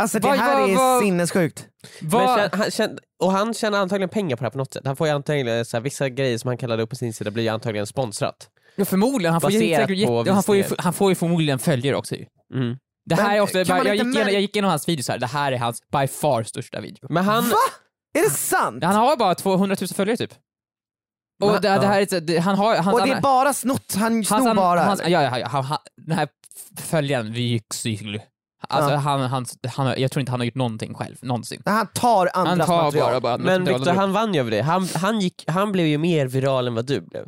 S3: Alltså det
S4: Vad-
S3: här
S4: vad-
S3: är
S4: vad-
S3: sinnessjukt.
S2: Mm. Men
S4: Vad-
S2: kän, han, kän, och han tjänar antagligen pengar på det här på något sätt. Han får ju antagligen, så här, vissa grejer som han kallade upp på sin sida blir ju antagligen sponsrat.
S4: Ja, förmodligen. Han får, ju,
S2: Baserat
S4: säkert,
S2: på
S4: jätte, han, får ju,
S2: visningar.
S4: han får ju förmodligen följare också ju.
S2: Mm.
S4: Det här
S3: Men
S4: är också,
S3: kan man
S4: jag,
S3: inte
S4: gick igenom,
S3: mär-
S4: jag gick igenom hans videos här, det här är hans by far största video.
S2: Men han,
S3: Va? Är det sant?
S4: Han har bara 200 000 följare typ. Och det, det här är, så- det, han har, hans,
S3: Och det är
S4: andra-
S3: bara snott, han
S4: hans,
S3: snor
S4: an-
S3: bara.
S4: hans, ja, ja, ja, han, han, den här följaren, Vyxyl. Alltså
S3: Ja.
S4: han, han, han, jag tror inte han har gjort någonting själv, någonsin.
S3: Nej, han tar
S4: Han
S3: andras
S4: tar
S3: material.
S4: bara, bara
S2: men Victor, han vann ju över dig. Han, han, gick, han blev ju mer viral än vad du blev.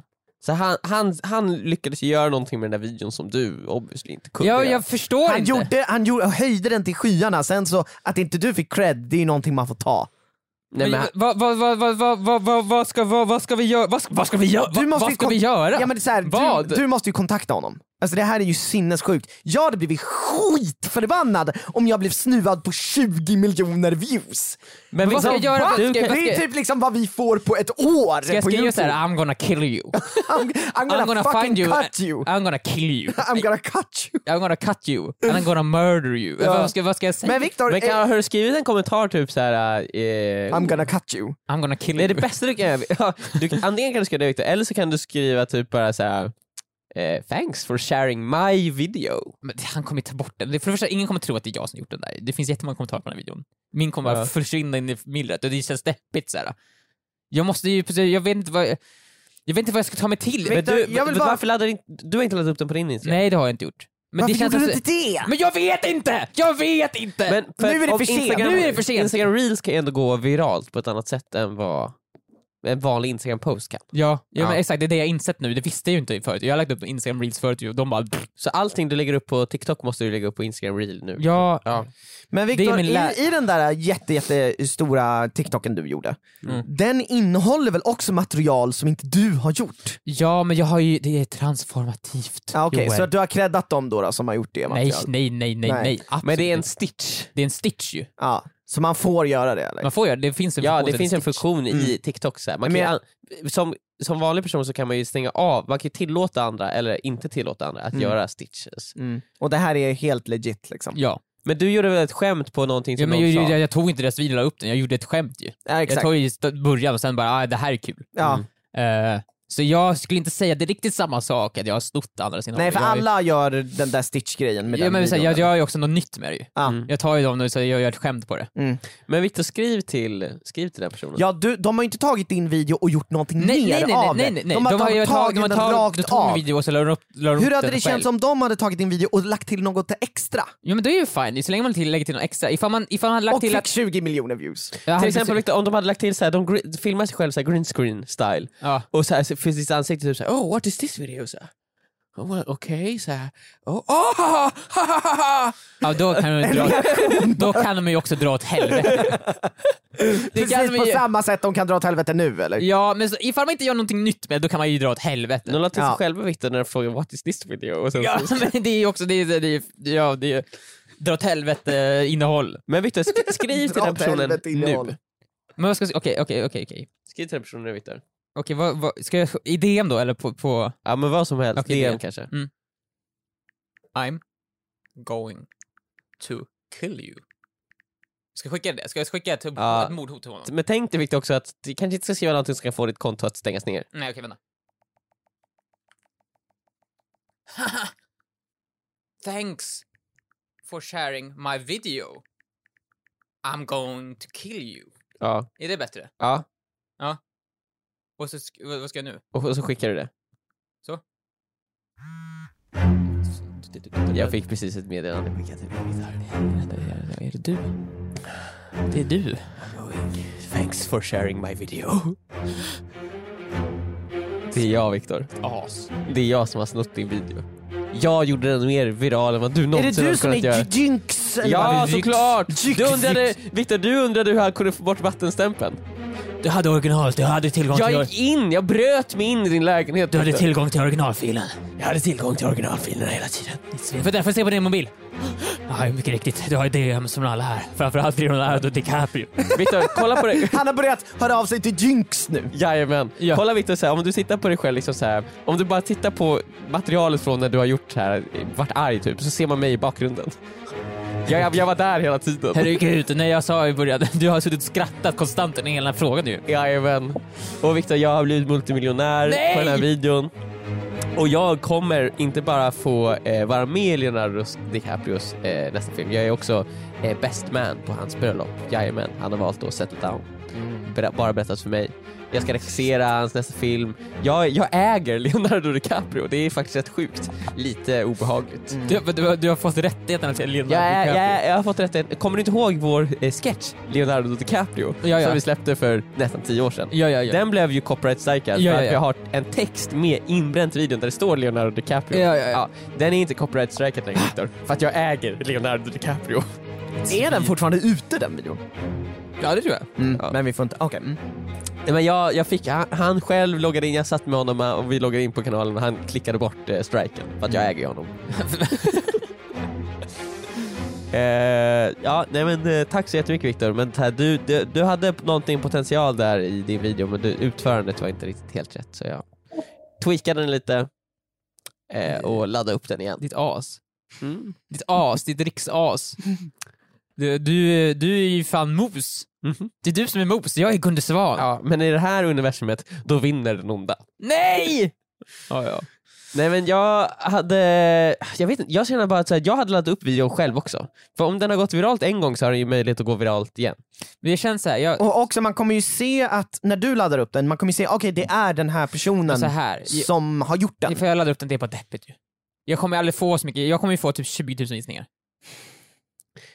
S2: Så han, han, han lyckades ju göra någonting med den där videon som du obviously inte kunde
S4: jag,
S2: göra.
S4: jag förstår
S3: Han,
S4: inte.
S3: gjorde, han gjorde, höjde den till skyarna, sen så att inte du fick cred, det är ju någonting man får ta.
S2: Nej, men, han-
S4: vad, vad, vad, vad, vad, vad, vad, vad, ska, vad, vad ska vi göra? Vad, ska- vad ska vi göra?
S3: Du måste
S4: Vad
S3: ju
S4: ska
S3: kon-
S4: vi göra?
S3: Ja, men det är så här,
S4: Vad?
S3: du, du måste ju kontakta honom. Alltså det här är ju sinnessjukt. Jag hade blivit skitförbannad om jag blev snuvad på 20 miljoner views.
S2: men
S4: vad ska
S2: liksom,
S4: jag göra?
S2: Du,
S4: Ska jag-
S2: kan-
S4: vad
S3: Det är typ liksom vad vi får på ett år
S4: Ska jag
S3: på
S4: skriva
S3: Youtube. *laughs*
S4: såhär I'm gonna kill you?
S3: I'm, I'm gonna,
S4: I'm gonna
S3: fucking
S4: find you.
S3: cut you.
S4: I'm gonna kill you.
S3: I'm gonna cut you.
S4: I'm gonna cut you. And I'm gonna murder you. Vad, ska, vad ska jag säga?
S3: Men Viktor,
S2: men kan,
S3: eh,
S2: har du skrivit en kommentar typ såhär... Eh,
S3: I'm gonna cut you.
S4: I'm gonna kill
S2: Det är
S4: you.
S2: det bästa du kan göra. *laughs* Ja, du, kan- antingen kan du skriva det Victor, eller så kan du skriva typ bara såhär eh, Thanks for sharing my video.
S4: Men han kommer ju ta bort den. Det- För det första, ingen kommer tro att det är jag som gjort den där. Det finns jättemånga kommentarer på den här videon. Min kommer bara
S2: Ja.
S4: försvinna in i myllret och det känns deppigt såhär. Jag måste ju, precis- jag vet inte vad, jag vet inte vad jag ska ta mig till.
S2: Men
S3: Victor,
S2: du,
S3: jag vill
S2: men
S3: bara-
S2: varför laddar du inte, du har inte laddat upp den på din Instagram?
S4: Nej det har jag inte gjort. Men
S3: Varför
S4: det känns
S3: gjorde du
S4: alltså-
S3: inte det?
S4: Men jag vet inte! Jag vet inte!
S2: Men för,
S3: Nu är det
S2: om
S3: för sent.
S2: Instagram,
S4: Nu är det för sent.
S2: Instagram reels kan ju ändå gå viralt på ett annat sätt än vad en vanlig Instagram post kan.
S4: ja, ja, men exakt, det är det jag insett nu. Det visste jag ju inte förut. Jag har lagt upp Instagram reels förut och de bara...
S2: Så allting du lägger upp på TikTok måste du lägga upp på Instagram reel nu.
S4: Ja,
S3: Men
S4: Det är
S3: Viktor,
S4: min lä-
S3: i, i den där jätte, jättestora TikToken du gjorde,
S4: Mm.
S3: den innehåller väl också material som inte du har gjort?
S4: ja men jag har ju, det är transformativt.
S3: Ja, Ah, Okej,
S4: Joel.
S3: så att du har creddat dem då, då som har gjort det
S4: eh. Nej,
S3: materialet?
S4: nej, nej, nej,
S3: Nej.
S4: nej. Absolut.
S2: Men det är en stitch.
S4: det är en stitch ju.
S3: Ja, så man får göra det eller?
S4: Man får göra det, det finns en
S2: Ja,
S4: funktion Mm.
S2: det
S4: som
S2: finns en
S4: stitch.
S2: funktion i TikTok. Så här. Man kan, ju an- som, som vanlig person så kan man ju stänga av, man kan ju tillåta andra eller inte tillåta andra att
S4: Mm.
S2: göra stitches.
S3: Mm. Och det här är helt legit liksom?
S4: Ja,
S2: Men du gjorde väl ett skämt på någonting som
S4: ja men jag,
S2: någon sa?
S4: jag, jag tog inte deras video och la upp den, jag gjorde ett skämt ju.
S3: Ja,
S4: Jag
S3: exakt.
S4: tog ju st- början och sen bara, ah, det här är kul.
S3: ja.
S4: Eh, så jag skulle inte säga att det är riktigt samma sak att jag har snott andras innehåll.
S3: Nej för
S4: jag, har ju-
S3: alla gör den där stitch-grejen med
S4: ja,
S3: den
S4: men, så, här,
S3: videon.
S4: jag gör ju också något nytt med det ju.
S3: Ja.
S4: Jag tar ju dem och så jag gör ett skämt på det.
S2: Men Viktor, skriv till, skriv till den personen.
S3: Ja, du, de har ju inte tagit din video och gjort någonting
S4: Nej,
S3: mer
S4: nej, nej,
S3: av
S4: nej, nej, nej.
S3: det. De har,
S4: ju
S3: tagit,
S4: tag- de har
S3: den
S4: tag- de
S3: rakt
S4: tog min
S3: av.
S4: video och så la de upp, la de upp
S3: Hur hade
S4: den
S3: det
S4: själv.
S3: känts om de hade tagit din video och lagt till något extra?
S4: Jo men det är ju fine, så länge man lägger till något extra. Ifall man, ifall man lagt
S3: Och
S4: till
S3: fick
S4: att...
S3: 20 miljoner views.
S4: Ja,
S2: Till
S4: han-
S2: exempel Victor, om de hade lagt till så här, de gre- filmar sig själv så här green screen style
S4: Ja.
S2: och så här, så finns ditt ansikte typ så här, oh what is this video? Så här, oh, well, Okej, så här, oh, oh, *laughs* ha, ha, ha, ha, ha.
S4: Ja, då kan de ju dra,
S2: *laughs*
S4: då kan de ju också dra åt helvete. Det kan de
S3: Precis på
S4: ju,
S3: samma sätt de kan dra åt helvete nu eller?
S4: ja, men så, ifall man inte gör någonting nytt med det, då kan man ju dra åt helvete.
S2: De la till sig
S3: Ja.
S2: själva Victor när de frågade what is this video? Och sen,
S4: *laughs* Ja, men det är ju också, det är, det är, ja, det är dra åt helvete innehåll.
S2: Men Victor, sk-
S4: *laughs*
S2: skriv till
S3: Dra
S2: den
S3: åt
S2: personen
S3: helvete innehåll.
S2: nu.
S4: Men vad ska jag säga? okej, okej, okej, okej.
S2: Skriv till den personen nu Victor.
S4: Okej, vad, vad, ska jag, i DM då eller på, på
S2: Ja men vad som helst,
S4: Okej,
S2: DM
S4: det-
S2: kanske.
S4: I'm going to kill you. Ska jag skicka det? Ska jag skicka ett,
S2: Ja.
S4: ett mordhot till honom?
S2: Men tänk dig Victor också att du kanske inte ska skriva någonting som kan få ditt konto att stängas ner.
S4: Nej okej, vänta. Thanks for sharing my video. I'm going to kill you.
S2: Ja.
S4: Är det bättre?
S2: ja.
S4: Och så, sk- vad vad ska jag nu?
S2: Och så skickar du det. Jag fick precis ett meddelande. Skicka till Victor. Är det du? Det är du. Thanks for sharing my video. Det är jag Viktor.
S4: As.
S2: Det är jag som har snott din video. Jag gjorde den mer viral än vad du
S3: Är det
S2: någonsin
S3: du
S2: har
S3: som
S2: kunnat göra.
S3: är Jinx? eller
S2: Ja,
S3: vad?
S2: såklart!
S3: Jyx,
S2: Du undrade,
S3: jyx.
S2: Viktor, du undrade hur han kunde få bort vattenstämpeln.
S5: Du hade originalet, du hade tillgång
S2: Jag
S5: till...
S2: gick in, jag bröt mig in i din lägenhet.
S5: Du hade
S2: Viktor.
S5: tillgång till originalfilen.
S2: jag hade tillgång till originalfilerna hela tiden.
S5: För därför se på din mobil. Ja, mycket riktigt. Du har ju DM som alla här. Framförallt Leonardo DiCaprio.
S2: Viktor, kolla på
S3: *laughs*
S2: dig.
S3: Han har börjat höra av sig till Jinx nu.
S2: Jajamän. Kolla Viktor, så här, om du tittar på dig själv, liksom så här, om du bara tittar på materialet från när du har gjort så här, varit arg typ, så ser man mig i bakgrunden. Jag, jag, jag var där hela tiden.
S4: Herregud, nej jag sa i början, du har suttit och skrattat konstant under hela frågan ju.
S2: Jajamän. Och Viktor, jag har blivit multimiljonär
S4: Nej!
S2: på den här videon. Och jag kommer inte bara få eh, vara med i Leonardo DiCaprios eh, nästa film, jag är också eh, best man på hans bröllop. Jajamän, han har valt att settle down. Ber- bara berättat för mig. Jag ska regissera hans nästa film. Jag, jag äger Leonardo DiCaprio, det är faktiskt rätt sjukt. Lite obehagligt.
S4: Du, du, du har fått rättigheterna till Mm. Leonardo
S2: Jag, är, jag,
S4: DiCaprio.
S2: är, jag har fått rätt. Kommer du inte ihåg vår eh, sketch Leonardo DiCaprio
S4: Ja, ja.
S2: som vi släppte för nästan tio år sedan?
S4: Ja, ja, ja.
S2: Den blev ju copyright strikad
S4: Ja,
S2: för att
S4: ja, ja.
S2: jag har en text med inbränt i videon där det står Leonardo DiCaprio.
S4: Ja, ja, ja.
S2: den är inte copyright strikad längre Viktor, för att jag äger Leonardo DiCaprio.
S3: Är den fortfarande ute den videon?
S4: Ja, det tror jag.
S3: Mm, Men vi får inte, okej. Mm.
S2: Nej, Men jag, jag fick, han, han själv loggade in, jag satt med honom eh, och vi loggade in på kanalen och han klickade bort eh, striken för att jag äger ju honom. eh, ja, nej men eh, tack så jättemycket Viktor, men det här, du, du, du hade någonting potential där i din video men du, utförandet var inte riktigt helt rätt så jag tweakade den lite eh, och laddade upp den igen.
S4: Ditt as.
S2: Mm.
S4: Ditt as, ditt riksas. Du, du, du är ju fan mos.
S2: Mhm.
S4: Det är du som är mos, jag är Gunde Svan.
S2: Ja, men i det här universumet, då vinner den onda.
S4: Nej! Ja, ja.
S2: Nej men jag hade, jag vet inte, jag känner bara att så här, jag hade laddat upp videon själv också. För om den har gått viralt en gång så har den ju möjlighet att gå viralt igen.
S4: Men det känns så här, jag,
S3: Och också, man kommer ju se att när du laddar upp den, man kommer ju se, okej det är den här personen
S4: så Alltså, här. Jag,
S3: som har gjort den.
S4: för jag laddar upp den, det är bara deppigt ju. Jag kommer aldrig få så mycket, jag kommer ju få typ 20 000 visningar.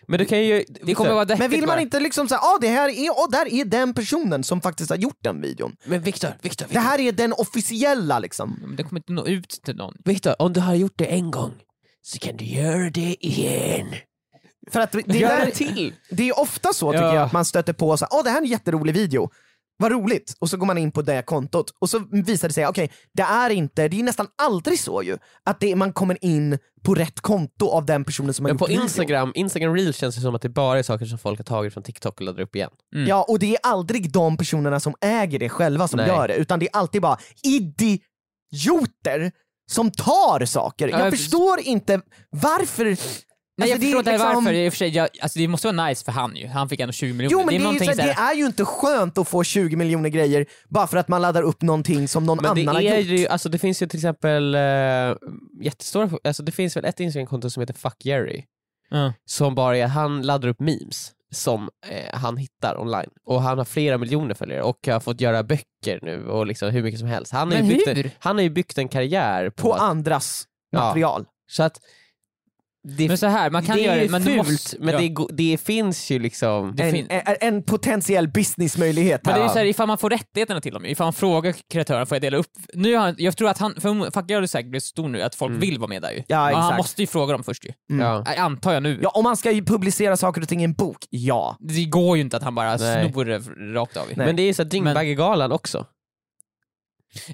S2: Men du kan ju...
S4: Det kommer vara deppigt
S3: Men vill man
S4: bara.
S3: inte liksom säga, ah, det här är, och där är den personen som faktiskt har gjort den videon.
S2: Men Viktor, Viktor,
S3: Det här är den officiella liksom.
S4: Men Det kommer inte nå ut till någon.
S2: Viktor, om du har gjort det en gång så kan du göra det igen.
S3: För att det,
S2: Gör
S3: där,
S2: det till!
S3: det är ofta så tycker
S2: Ja.
S3: jag, att man stöter på så här, ah, det här är en jätterolig video. Vad roligt! Och så går man in på det kontot och så visar det sig, okej, det är inte, det är nästan aldrig så ju, att det, man kommer in på rätt konto av den personen som har
S2: Men
S3: gjort
S2: på
S3: videon.
S2: Instagram, Instagram Reels känns det som att det bara är saker som folk har tagit från TikTok och laddar upp igen.
S3: Ja, och det är aldrig de personerna som äger det själva som
S2: Nej.
S3: gör det, utan det är alltid bara idioter som tar saker.
S4: Ja,
S3: jag
S4: jag-
S3: förstår inte varför...
S4: Nej,
S3: Alltså,
S4: jag
S3: det är
S4: förstår inte
S3: liksom-
S4: varför, i och för sig, jag, alltså, det måste vara nice för han ju. Han fick ändå 20 miljoner.
S3: Jo men det är, ju,
S4: någonting
S3: såhär,
S4: så här-
S3: det är ju inte skönt att få 20 miljoner grejer bara för att man laddar upp någonting som någon
S2: Men
S3: annan har
S2: det, är
S3: gjort.
S2: ju, alltså det finns ju till exempel eh, jättestora, alltså det finns väl ett Instagramkonto som heter Fuck Jerry.
S4: Ja.
S2: som bara är, han laddar upp memes som eh, han hittar online. Och han har flera miljoner följare och har fått göra böcker nu och liksom hur mycket som helst. Han har, ju
S4: Men
S2: byggt,
S4: hur?
S2: en, han har ju byggt en karriär på,
S3: På
S2: att,
S3: andras
S2: Ja.
S3: material.
S2: så att det,
S4: Men så här, man kan
S2: det
S4: göra
S2: är ju
S4: det, men
S2: fult,
S4: du måste...
S2: men
S4: ja.
S2: det, go- det finns ju liksom...
S4: Det
S3: en,
S4: fin-
S3: en, en potentiell businessmöjlighet.
S4: Men det är ju
S3: här.
S4: såhär, ifall man får rättigheterna till dem, ifall man frågar kreatören, får jag dela upp? Nu har, han- jag tror att han, för Fuck har säkert blivit så stor nu att folk vill vara med där ju.
S3: Ja,
S4: Men han
S3: exakt.
S4: måste ju fråga dem först ju.
S2: Ja.
S4: Jag Antar jag nu.
S3: Ja, om man ska ju publicera saker och ting i en bok, ja.
S4: Det går ju inte att han bara
S2: Nej.
S4: snor det rakt av ju.
S2: Men det är ju så här Dyngbaggegalan också.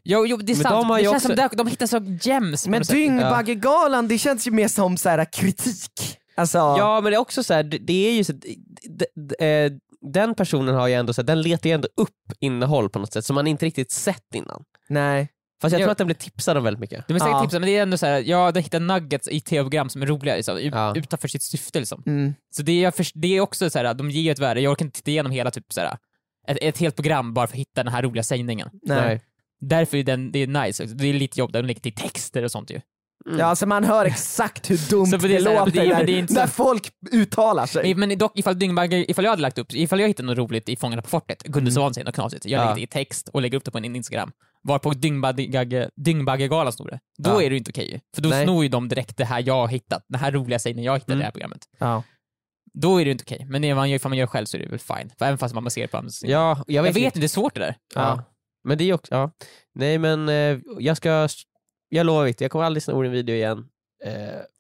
S4: Jo, jo, det är
S2: Men
S4: sant.
S2: de har
S4: det
S2: ju
S4: känns
S2: också-
S4: som att de hittar så gems på
S3: Men
S4: något sätt.
S3: Dyngbaggegalan, det känns ju mer som så här, kritik. Alltså,
S2: Ja men det är också så här, det- det är ju så, d- d- d- eh, den personen har ju ändå så här, den letar ju ändå upp innehåll på något sätt som man inte riktigt sett innan.
S3: nej.
S2: För Fast jag
S4: Ja.
S2: tror att den blev tipsad om väldigt mycket.
S4: De är säkert
S3: Ja.
S4: tipsade, men det är ändå så här, ja, de hittar nuggets i tv-program som är roliga liksom, ut-
S2: Ja.
S4: utanför sitt syfte. Liksom.
S3: Mm.
S4: Så det är, för- det är också så här, de ger ju ett värde, jag orkar inte titta igenom hela typ, så här, ett, ett helt program bara för att hitta den här roliga sägningen.
S3: Nej.
S4: Därför är den, det är nice, det är lite jobb, de lägger till texter och sånt ju. Mm.
S3: Ja, alltså man hör exakt hur dumt
S4: Så
S3: det,
S4: för det är så här,
S3: låter
S4: det är-
S3: när,
S4: men det är inte så-
S3: när folk uttalar sig.
S4: Men, men dock, ifall, Dyngbagge, ifall jag hade lagt upp, ifall jag hittade något roligt i Fångarna på fortet, Gunde Svansén och knasigt, jag
S2: Ja.
S4: lägger det i text och lägger upp det på en Instagram, varpå Dyngbagge- Dyngbaggegalan snor det, då
S2: Ja.
S4: är det ju inte okej ju. För då
S2: Nej.
S4: snor ju de direkt det här jag har hittat, den här roliga sägningen jag hittade i det här programmet.
S3: Ja.
S4: Då är det ju inte okej, men ifall man, gör, ifall man gör själv så är det väl fine. För även fast man baserar på andras
S2: Ja, jag
S4: Jag
S2: vet,
S4: vet inte, det är svårt det där.
S2: Ja. Men det är ju också, ja. Nej men eh, jag ska, jag lovar inte, jag kommer aldrig snå en video igen. Eh,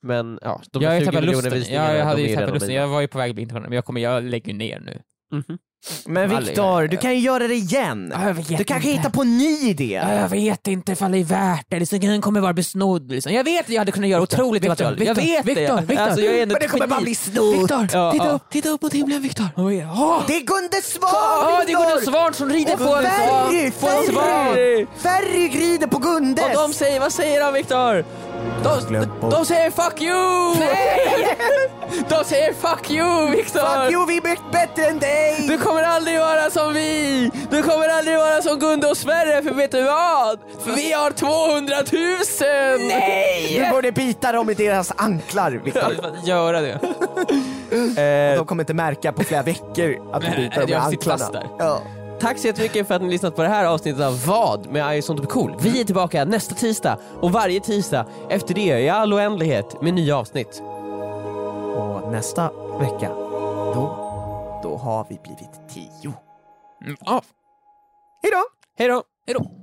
S2: men ja, de
S4: jag har
S2: 20
S4: ju tappat
S2: miljoner
S4: lusten.
S2: visningarna,
S4: Ja, jag hade
S2: de är
S4: ju tappat
S2: redan
S4: lusten.
S2: mina.
S4: Jag var ju på väg att bli internationell, men jag, kommer, jag lägger ju ner nu.
S2: Mhm.
S3: Men
S4: Aldrig.
S3: Viktor, du kan ju göra det igen.
S4: Ja, jag vet
S3: Du kanske
S4: inte.
S3: hittar på en ny idé.
S4: Ja, jag vet inte ifall det är värt det, liksom, den kommer vara besnodd. Liksom. Jag vet att jag hade kunnat göra otroligt
S5: Victor,
S4: material. Jag
S5: Victor,
S4: vet
S5: Victor,
S4: det.
S5: Victor.
S4: Alltså, jag är ändå
S3: Men det
S4: ett
S3: kommer
S4: geni.
S3: bara bli snott.
S4: Ja,
S5: titta,
S4: ja.
S5: Upp, titta upp mot himlen Viktor!
S4: Oj, ja.
S3: Det är Gunde
S4: Ja,
S3: Svan,
S4: det går en
S3: Viktor!
S4: svan som rider
S3: Och
S4: på en
S3: Ferry,
S4: svan. På en svan.
S3: Ferry! Ferry rider på
S5: Och de
S3: Gundes!
S5: säger, vad säger de Viktor? De,
S3: Glöm
S5: de,
S3: bort.
S5: de säger fuck you!
S4: *laughs*
S5: De säger fuck you
S3: Fuck
S5: Viktor!
S3: you, vi är mycket bättre än
S5: Du
S3: dig!
S5: kommer aldrig vara som vi! Du kommer aldrig vara som Gunde och Sverre för vet du vad? För vi har 200 000!
S3: Du borde bita dem i deras anklar, Viktor.
S4: Göra det.
S3: De kommer inte märka på flera veckor att du
S4: Nej,
S3: biter dem i
S4: jag sitter fast
S3: anklarna. Ja.
S2: Tack så jättemycket för att ni har lyssnat på det här avsnittet av Vad med I sånt typ cool. Vi är tillbaka nästa tisdag och varje tisdag efter det i all oändlighet med nya avsnitt.
S3: Och nästa vecka, då, då har vi blivit tio.
S4: Mm, Ja.
S3: Hejdå!
S2: Hej då!
S4: Hej då.